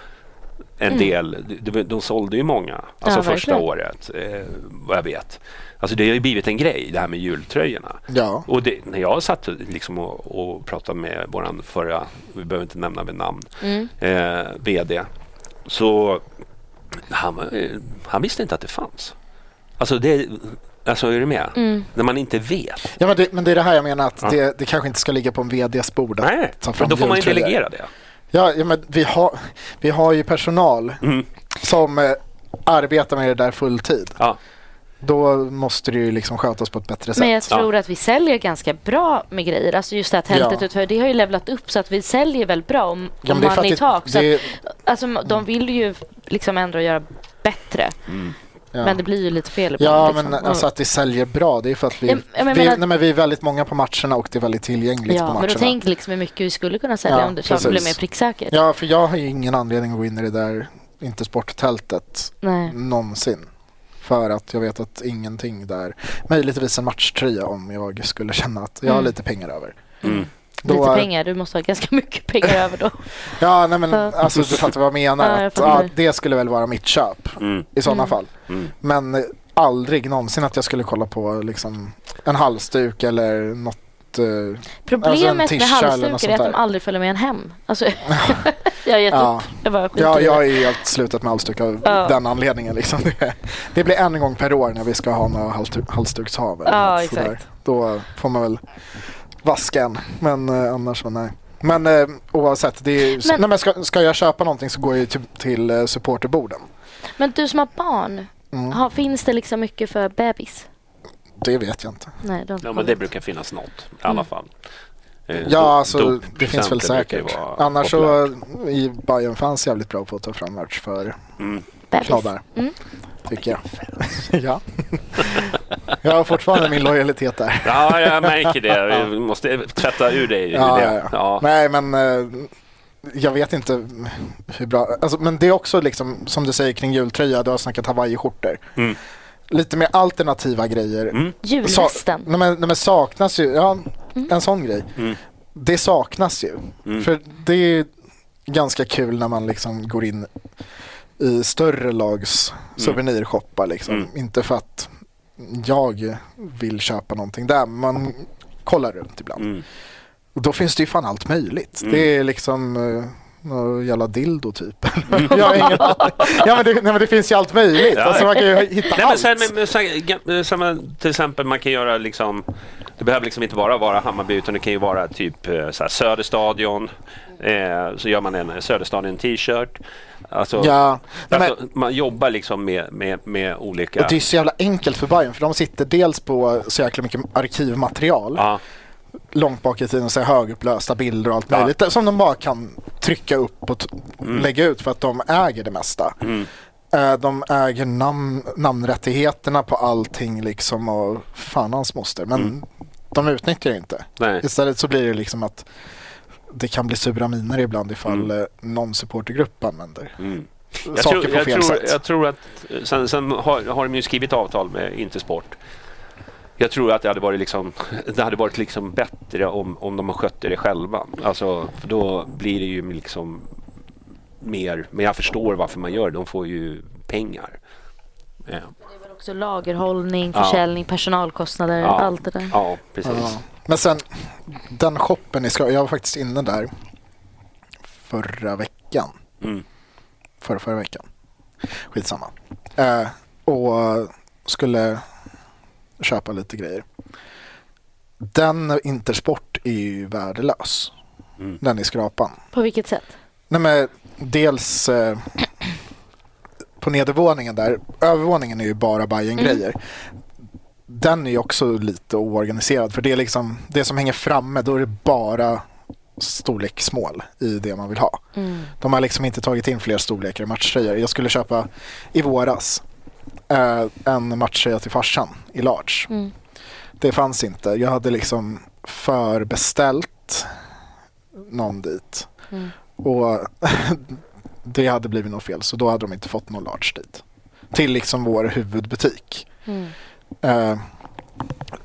en del, de, de sålde ju många alltså Mm. Ja, första verkligen. året, eh, vad jag vet. Alltså det har ju blivit en grej det här med jultröjorna. Ja. Och det, när jag satt liksom och, och pratade med våran förra, vi behöver inte nämna vid namn, eh, VD, så han, var- eh, han visste inte att det fanns. Alltså, det, alltså är du med? När man inte vet. Ja, men, det, men det är det här jag menar att Ja. det, det kanske inte ska ligga på en vds bord. att Nej, ta för fram då får man ju jultröjor. delegera det. Ja, ja men vi har, vi har ju personal som eh, arbetar med det där fulltid. Ja. Då måste det ju liksom skötas på ett bättre sätt. Men jag tror att vi säljer ganska bra med grejer. Alltså just det här tältet Ja. utanför, det har ju levlat upp så att vi säljer väldigt bra om, Ja, om men det är för man i att det- tak. Så det- Mm. att, alltså de vill ju liksom ändå göra bättre. Men det blir ju lite fel ibland. Ja, liksom. men alltså att det säljer bra, det är för att vi, Ja, men jag vi, menar- nej, men vi är väldigt många på matcherna och det är väldigt tillgängligt på ja, matcherna. men då tänk liksom hur mycket vi skulle kunna sälja Ja, om det klart det precis. blev mer pricksäkert. Ja, för jag har ju ingen anledning att gå in i det där inte sporttältet Nej. någonsin. För att jag vet att ingenting där, möjligtvis en matchtröja om jag skulle känna att jag har lite pengar över. Då Mm. Alltså, Lite är- pengar, du måste ha ganska mycket pengar över då. Ja, nej men Ja. alltså du fattar vad jag Ja, menar. jag Att, fattar. Mm. ja, det skulle väl vara mitt köp i sådana fall. Mm. Men eh, aldrig någonsin att jag skulle kolla på liksom, en halsduk eller något. eh, Alltså, en Problemet med tischa eller något halsdukar är sånt att där. de aldrig följer med en hem. Alltså, jag har gett Ja. upp. Jag bara skiter Ja, i det. jag har ju helt slutat med halsduk av Typ. Ja. den anledningen. Liksom. Det, det blir en gång per år när vi ska ha några halsdu- halsdukshav. eller Ja, något sådär. exakt. Då får man väl vaska en, men eh, annars så nej. Men eh, oavsett, det är ju, Men- nej, men ska, ska jag köpa någonting så går jag ju till, till eh, supporterborden. Men du som har barn, Mm. har, finns det liksom mycket för bebis? Det vet jag inte. Nej, de Ja, men det brukar finnas något i alla fall. Eh, Ja, do- alltså det doppresenter finns väl brukar ju säkert. vara Annars populärt. så, i Bayern fanns jävligt bra på att ta fram merch för bebis. knoddar. Tycker jag. ja. jag har fortfarande min lojalitet där. Ja, jag märker det. Vi måste tvätta ur dig Ja, det. ja, ja. Nej, men eh, jag vet inte hur bra. Alltså, men det är också liksom, som du säger kring jultröja, du har snackat hawaiiskjortor. Mm. Lite mer alternativa grejer. Julhästen. Sa- nej, men, nej, men saknas ju, ja, en sån grej. mm, Det saknas ju. För det är ju ganska kul när man liksom går in i större lags Mm. souvenirshoppar. Liksom. Inte för att jag vill köpa någonting där, men man kollar runt ibland. Mm. Och då finns det ju fan allt möjligt. Det är liksom uh, någon jävla dildo typ. jag har ingen aning. ja, men det, nej, men det finns ju allt möjligt. Ja. Alltså, man kan ju hitta Nej, men allt. sen, men, men, sen, ga- samma, till exempel man kan göra liksom det behöver liksom inte bara vara Hammarby utan det kan ju vara typ eh, så här, Söderstadion. Eh, så gör man en eh, Söderstadion t-shirt. Alltså, Ja. Nej, men, alltså, man jobbar liksom med, med, med olika... och det är så jävla enkelt för Bayern för de sitter dels på så jäkla mycket arkivmaterial ja, långt bak i tiden, så här högupplösta bilder och allt Ja. möjligt som de bara kan trycka upp och t- lägga ut för att de äger det mesta. mm. Eh, De äger namn, namnrättigheterna på allting liksom och fan hans moster. Men de utnyttjar det inte. nej. Istället så blir det liksom att det kan bli sura miner ibland ifall eh, någon supportergrupp använder Mm. Jag saker tror, på jag fel tror, sätt. Jag tror att, sen sen har, har de ju skrivit avtal med Intersport. Jag tror att det hade varit, liksom, det hade varit liksom bättre om, om de skötte det själva. Alltså, för då blir det ju liksom mer, men jag förstår varför man gör det. De får ju pengar. Ja, Också lagerhållning, Ja. försäljning, personalkostnader, Ja. allt det där. ja precis. Men sen, den shoppen i Skara, jag var faktiskt inne där förra veckan. Mm. Förra, förra veckan. Skitsamma. Eh, och skulle köpa lite grejer. Den Intersport är ju värdelös. Mm. Den i skrapan. På vilket sätt? Nej men dels eh, på nedervåningen där, övervåningen är ju bara bayern grejer Den är ju också lite oorganiserad för det är liksom det som hänger framme då är det bara storleksmål i det man vill ha. De har liksom inte tagit in fler storlekar i matchtröjor. Jag skulle köpa i våras eh, en matchtröja till farsan i large. Det fanns inte. Jag hade liksom förbeställt någon dit. Och det hade blivit något fel så då hade de inte fått någon large dit. Till liksom vår huvudbutik. Mm. Eh,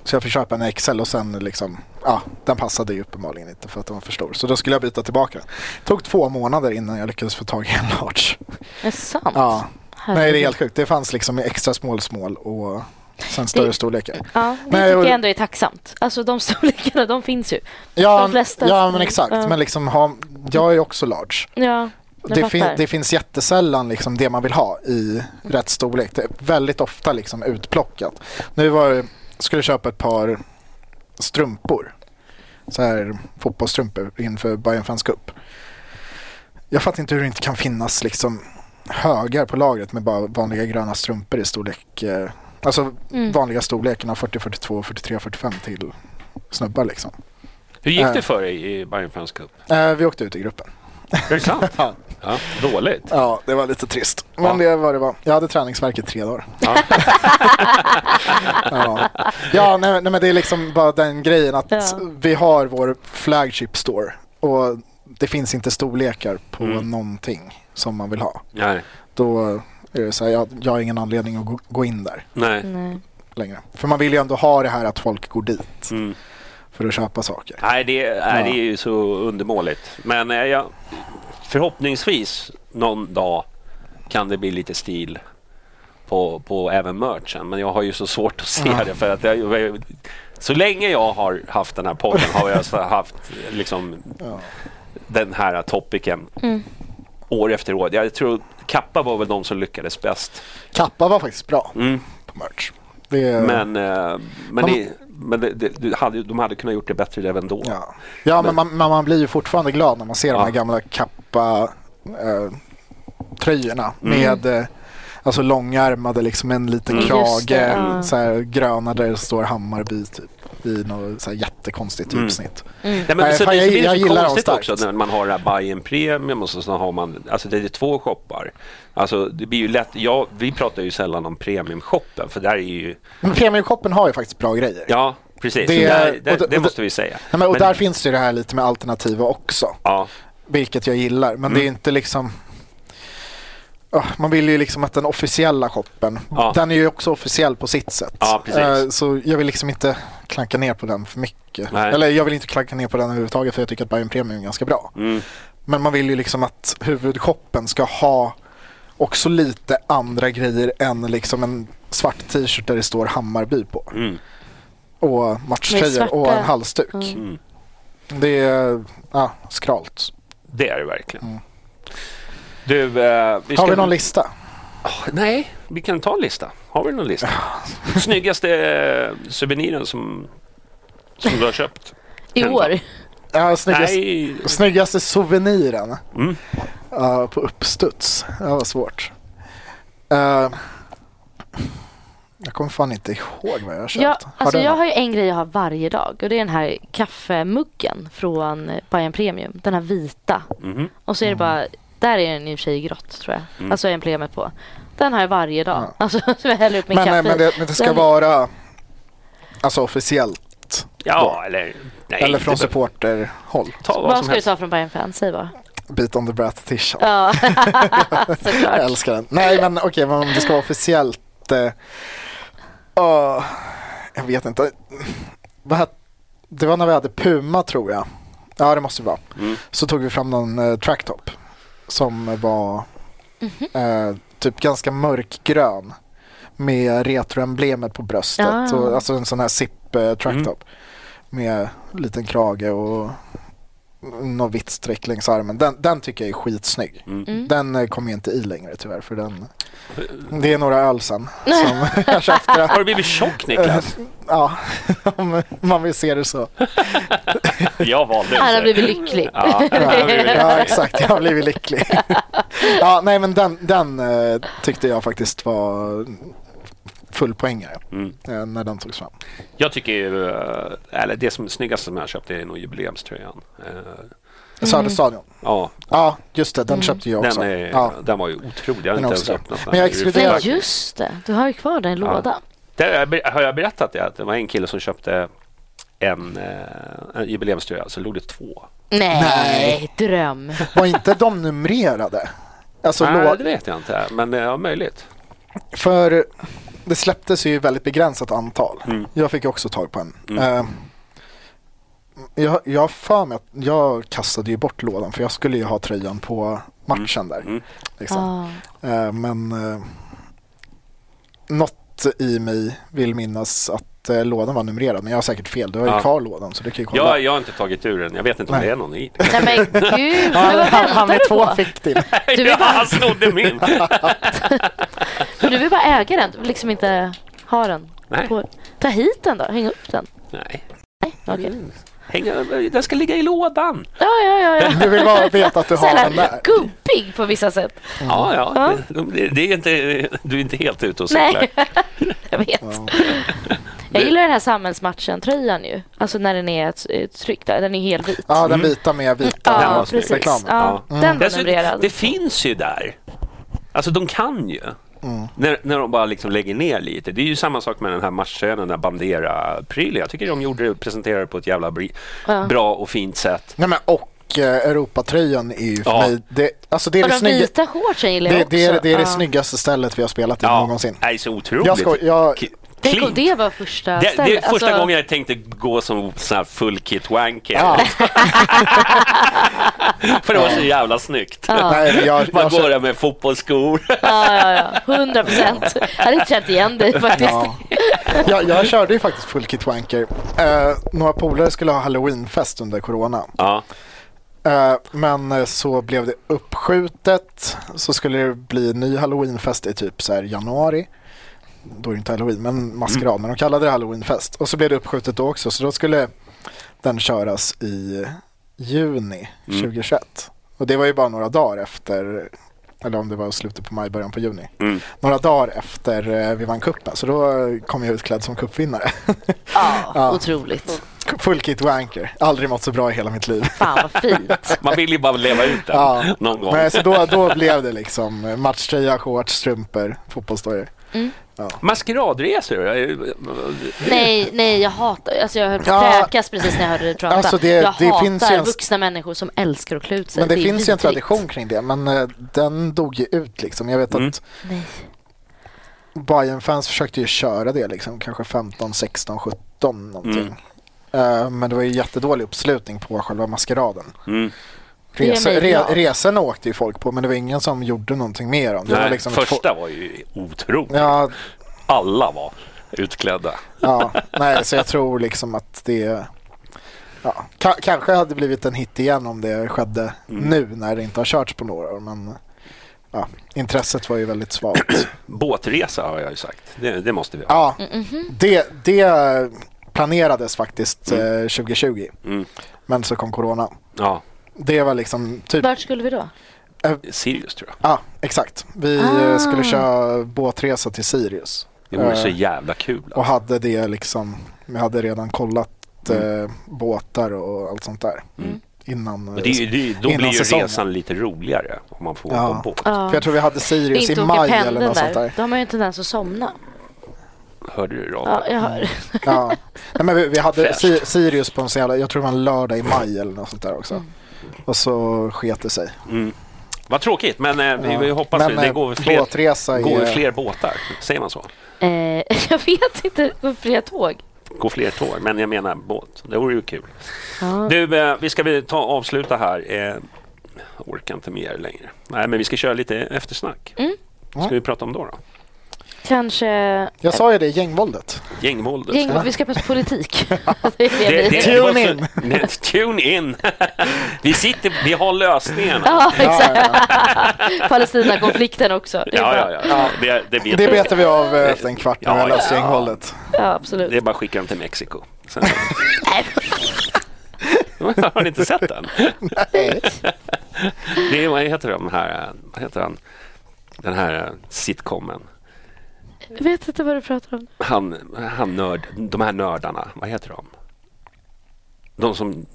så jag fick köpa en XL och sen liksom, ja, den passade ju uppenbarligen inte för att den var för stor. Så då skulle jag byta tillbaka den. Det tog två månader innan jag lyckades få tag i en large. Är det sant? Ja. Nej, det är Herregud. helt sjukt. Det fanns liksom extra small, small och sen större Det- storlekar. Ja, det Nej, tycker och- jag ändå är tacksamt. Alltså de storlekarna, de finns ju. Ja, De flesta- ja men exakt. Ja. Men liksom, ha, jag är ju också large. Ja, jag Det, fin, fattar. det finns jättesällan liksom det man vill ha i rätt storlek. Det är väldigt ofta liksom utplockat. Nu var det, skulle jag köpa ett par strumpor. Så här fotbollsstrumpor inför Bayern Fans Cup. Jag fattar inte hur det inte kan finnas liksom högar på lagret med bara vanliga gröna strumpor i storlek. eh, Alltså Mm. vanliga storlekarna 40, 42, 43, 45 till snubbar liksom. Hur gick Eh. det för dig i Bayern Fans Cup? Eh, vi åkte ut i gruppen. Är det sant? ja. Dåligt. Ja, det var lite trist. Men Ja. det var det var. Jag hade träningsvärk i tre dagar. Ja, ja. nej, nej, men det är liksom bara den grejen att Ja. vi har vår flagship store och det finns inte storlekar på Mm. någonting som man vill ha. Nej. Då är det så här, jag, jag har ingen anledning att gå, gå in där Nej. Nej. längre. För man vill ju ändå ha det här att folk går dit Mm. för att köpa saker. Nej, det, nej, Ja. det är ju så undermåligt. Men eh, jag, förhoppningsvis någon dag kan det bli lite stil på, på även merchen. Men jag har ju så svårt att se det. För att jag, så länge jag har haft den här podden har jag så haft liksom, den här topicen år efter år. Jag tror Kappa var väl de som lyckades bäst. Kappa var faktiskt bra på merch. Det, Mm. Men, eh, men, Man- det, men det, det, du hade, de hade kunnat gjort det bättre även då. Ja, ja men, man, men man blir ju fortfarande glad när man ser de Ja. här gamla kappa-tröjorna med eh, alltså långärmade, liksom en liten Mm. Just krage, det, ja. så här, gröna där det står Hammarby typ, i något så här jättekonstigt Mm. djupsnitt. Nej, men Nej, sen fan, det, jag- det är jag så gillar dem konstigt starkt. också när man har det här Bayern Premium och så, så har man, alltså det är två shoppar. Alltså det blir ju lätt, ja, vi pratar ju sällan om premiumshoppen för där är ju, Men Premiumshoppen har ju faktiskt bra grejer. ja precis, Det- det, där, där, och det- det och måste det- vi säga. Nej, men, och Men- där finns det ju det här lite med alternativa också, Ja, vilket jag gillar. Men det är Mm. inte liksom... Ah, Man vill ju liksom att den officiella shoppen, Ja. den är ju också officiell på sitt sätt. Ja, precis. Eh, Så jag vill liksom inte klanka ner på den för mycket. Nej. Eller jag vill inte klanka ner på den överhuvudtaget för jag tycker att Bayern Premium är ganska bra. mm, Men man vill ju liksom att huvudshoppen ska ha också lite andra grejer än liksom en svart t-shirt där det står Hammarby på. mm, Och Med svarta- Mm. matchtröjor och en halsduk. mm. Det är ja, skralt. det är det verkligen. Du, eh, vi ska... Ah, Mm. Har vi någon lista? Nej, vi kan ta en lista. Har vi någon lista? Snyggaste eh, souveniren som, som du har köpt? I år? Ja, snyggast, Nej, Snyggaste souveniren Mm. Ja, på uppstuds. Det var svårt. Eh, jag kommer fan inte ihåg vad jag har köpt. Ja, alltså du jag något? har ju en grej jag har varje dag och det är den här kaffemuggen från eh, Bayern Premium. Den här vita. Mhm. Och så är det bara, där är den i och för sig i grått tror jag. Mm. Alltså emblemet på. Den har jag varje dag. Alltså som jag häller upp min men, kaffe nej, i. men, det, men det ska Den- vara alltså, officiellt. ja eller... Nej, eller från det- supporterhåll. Ta vad, Vad som ska du helst. ta från Bayern Fans? Säg bara. Beat on the brat t-shirt. Ja, såklart. Jag älskar den. Nej, men okej, men om det ska vara officiellt. Eh, ja, jag vet inte. Vad het- det var när vi hade Puma, tror jag. Ja, det måste det vara. Så tog vi fram någon eh, tracktop som var Mhm. eh, typ ganska mörkgrön med retroemblemet på bröstet. Ah. Och, alltså en sån här zip eh, tracktop med liten krage och något vitt streck längs armen. Den, den tycker jag är skitsnygg. Mm. Mm. Den eh, kommer ju inte i längre tyvärr för den... Det är några öl sen som jag köpte den. Har du blivit tjock Niklas? Ja, om man vill se det så. Jag valde Han har inte. blivit lycklig. Ja, jag har blivit lycklig. Ja, exakt. Jag har blivit lycklig. Ja, nej men den, den eh, tyckte jag faktiskt var full poängare Mm. eh, när den togs fram. jag tycker ju, eh, eller det som snyggaste som jag köpte är nog jubileumströjan. Eh, Söderstadion. Ja, Ja, just det. Den köpte jag också. den, är, ja. den var ju otrolig. Jag har Den inte också. ens öppnat den. Men jag Det är ju exkluderar- Men fräckt. just det, du har ju kvar den i lådan. Det har jag, ber- har jag berättat det? Att det var en kille som köpte en, eh, en jubileumströja så låg det två. Nej, Nej. dröm. Var inte de numrerade? Alltså, Nej, lå- det vet jag inte, men eh, ja, möjligt. För det släpptes ju ett väldigt begränsat antal. Mm. Jag fick också tag på en. Eh, jag, jag har för mig att jag kastade ju bort lådan för jag skulle ju ha tröjan på Mm. matchen där. Liksom. Ah. Eh, men eh, något i mig vill minnas att eh, lådan var numrerad men jag har säkert fel. Du har ju Ja. kvar lådan så du kan ju kolla. Jag, jag har inte tagit ur den, jag vet inte om Nej. det är någon i. Nej men gud, men han, vad han, han väntar med du två på? fick till. Du ja, vill bara, han snodde min! men du vill bara äga den, du vill liksom inte ha den. Nej. På, ta hit den då, häng upp den. Nej. Okej. Hänga, den ska ligga i lådan. Ja, ja, ja. ja. Du vill bara veta att du Så har den jävla där. gubbig på vissa sätt. Ja, ja. Ja. Det, det är inte, du är inte helt ute och cyklar. Nej, jag vet. Jag gillar den här samhällsmatchen-tröjan ju. Alltså när den är ett- ett tryck där, den är helt vit. Ja, den vita med vita Den Ja, var snygg. precis. reklam. Ja, Den var Dessutom, numrerad. det finns ju där. Alltså de kan ju. Mm. När, när de bara liksom lägger ner lite. Det är ju samma sak med den här matchen, den där Bandera-prylen. Jag tycker de gjorde det, presenterade det på ett jävla bri- bra och fint sätt. Nej, men och eh, Europatröjan är ju för Ja. mig... Det, alltså det är Och det de snygga... vita shortsen gillar jag Det, också. det är, det, är det Ja. snyggaste stället vi har spelat i någonsin. Nej, så otroligt. Jag skoj- jag- Ki- Tänk om clean. det var första Det, det är stället. första Alltså, gången jag tänkte gå som sån här full kit wanker. Ja. För det var så jävla snyggt. Nej, men jag, Man jag, går känner, där med fotbollsskor. Ja, ja, ja. 100 procent. Jag hade inte känt igen dig faktiskt. Ja. jag, jag körde ju faktiskt full kit wanker. Eh, några polare skulle ha halloweenfest under corona. Ja. Eh, men eh, så blev det uppskjutet. Så skulle det bli ny halloweenfest i typ så här januari. Då är det inte halloween, men maskerad. Men de kallade det halloweenfest. Och så blev det uppskjutet då också. Så då skulle den köras i juni 2021. Och det var ju bara några dagar efter, eller om det var slutet på maj, början på juni. Några dagar efter eh, vi vann cupen. Så då kom jag utklädd som cupvinnare. Ja, Ah, otroligt. Full kit wanker. Aldrig mått så bra i hela mitt liv. Fan vad fint. Man vill ju bara leva ut den Ja. någon gång. Men så då, då blev det liksom eh, matchtröja, shorts, strumpor, fotbollsdojor. Maskeradresor? eh, Nej, nej, jag hatar... Alltså jag höll på Ja. att kräkas precis när jag hörde dig prata. Alltså det- jag det hatar finns ju en- vuxna människor som älskar att klä ut sig. Men det, är finns ju en vidrigt. tradition kring det, men eh, den dog ju ut liksom. Jag Mm. vet att Nej. bayern fans försökte ju köra det liksom, kanske 15, 16, 17 någonting. Eh, men det var ju jättedålig uppslutning på själva maskeraden. Mm. Det gör Rese, mig re, glad. resorna åkte ju folk på, men det var ingen som gjorde någonting mer om det. var Nej, liksom första var ju otroligt. Ja, Alla var utklädda. Ja, nej, så jag tror liksom att det... Ja, ka- kanske hade blivit en hit igen om det skedde Mm. nu när det inte har körts på några år. Men ja, intresset var ju väldigt svagt. Båtresa har jag ju sagt. Det, det måste vi ha. Ja, Mhm. det, det planerades faktiskt eh, 2020, Mm. men så kom corona. Ja. Det var liksom typ... Vart skulle vi då? Sirius tror jag. Ja, exakt. Vi eh, skulle köra båtresa till Sirius. Det vore så Eh, jävla kul. Och Alltså. hade det liksom, vi hade redan kollat Mm. eh, båtar och allt sånt där. Innan. eh, Men Det, är ju- det, är- då innan blir ju säsongen. resan lite roligare om man får åka Ja. båt. Ja. eh, För jag tror vi hade Sirius i Inte åka maj eller pendeln något där. sånt där. Då har man ju en tendens att somna. Hörde du radion? Ja, jag hör. Ja. Nej, men vi, vi hade Fräscht. si, Sirius på en sån jävla, jag tror det var en lördag i maj eller något sånt där också. Mm. Och så sket det sig. Vad tråkigt, men eh, vi, vi Ja. hoppas Men, men, det eh, går väl fler, båtresa eh, går väl är- fler båtar. Säger man så? Eh, jag vet inte. Går fler tåg? Går fler tåg, men jag menar båt. Det vore ju kul. Du, eh, vi ska väl ta avsluta här. Eh, jag orkar inte mer längre. Nej, men vi ska köra lite eftersnack. Mm. Vad ska vi prata om då? då? Kanske... Jag sa ju det, gängvåldet. Gängvåldet. Gäng, vi ska prata politik. det är det Det- vi- det- Tune varför- in. Nej, Tune in! Vi sitter, vi har lösningarna. Ja, exakt. Palestinakonflikten också. Det är Ja, bra. ja, ja. ja. Det, det, vet Det vi. betar vi av eh, efter en kvart när vi har Ja, löst ja. gängvåldet. ja, absolut. det är bara att skicka den till Mexiko. Sen... har ni inte sett den? Det är, vad heter de här, eh, vad heter han, den här eh, sitcomen? Jag vet inte vad du pratar om. Han, han nörd, de här nördarna, vad heter de? De som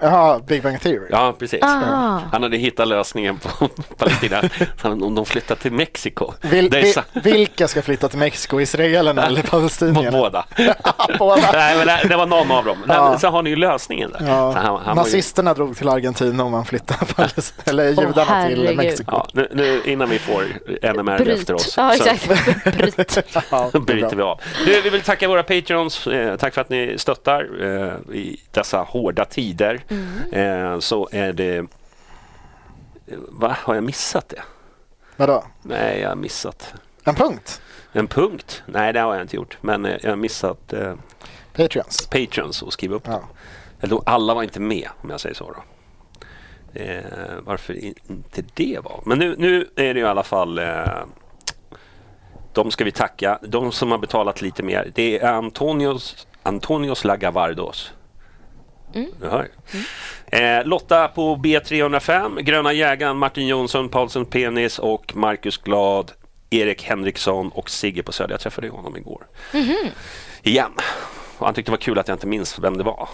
Jaha, Big Bang Theory. Ja, precis. Ah. Han hade hittat lösningen på Palestina. Han, om de flyttar till Mexiko. Vil, det är vi- sa- vilka ska flytta till Mexiko? Israelerna eller Mot palestinierna? båda. Båda. Nej, men det, det var någon av dem. Nej, Ja. men Så har ni ju lösningen där. Ja. Så han- han var ju- Nazisterna drog till Argentina och man flyttade palest- eller Åh, judarna till herregud. Mexiko. Ja, nu, nu, innan vi får NMR Bryt. efter oss Ja, så exakt. Bryt. Ja, det är bra. bryter vi av. Du, vi vill tacka våra Patreons. Eh, tack för att ni stöttar eh, i dessa hårda tider. Mm. Eh, så är det... eh, Va? Har jag missat det? Vadå? Nej, jag har missat. En punkt? En punkt? Nej, det har jag inte gjort. Men eh, jag har missat eh, Patreons. Patreons och skriva upp Ja. dem. Eller då, alla var inte med, om jag säger så. Då. Eh, varför i- inte det var? Men nu, nu är det ju i alla fall... Eh, de ska vi tacka. De som har betalat lite mer. Det är Antonios, Antonios Lagavardos. Du hör. Eh, Lotta på B305, Gröna jägaren, Martin Jonsson, Paulsen Penis och Marcus Glad, Erik Henriksson och Sigge på Söder. Jag träffade ju honom igår. Igen. Och han tyckte det var kul att jag inte minns vem det var.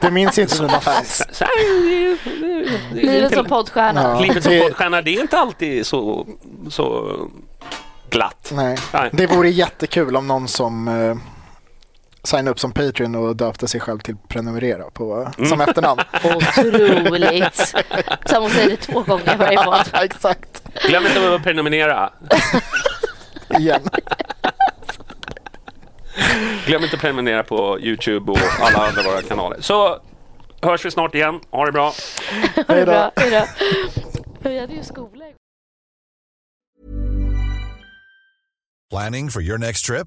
Det minns inte dina fans. Så här, det är- det är- det är Livet till- som poddstjärna. Ja. Livet som det- poddstjärna, det är inte alltid så, så glatt. Nej. Nej. Det vore jättekul om någon som eh, signade upp som Patreon och döpte sig själv till prenumerera på, eh, som Mm. efternamn. Otroligt. Samma säger det två gånger i varje podd. Exakt. Glöm inte att prenumerera. Igen. Glöm inte att prenumerera på Youtube och alla andra våra kanaler. Så hörs vi snart igen. Ha det bra. Ha det Hej då. bra. Hej då. Vi hade ju skola igår. Planning for your next trip?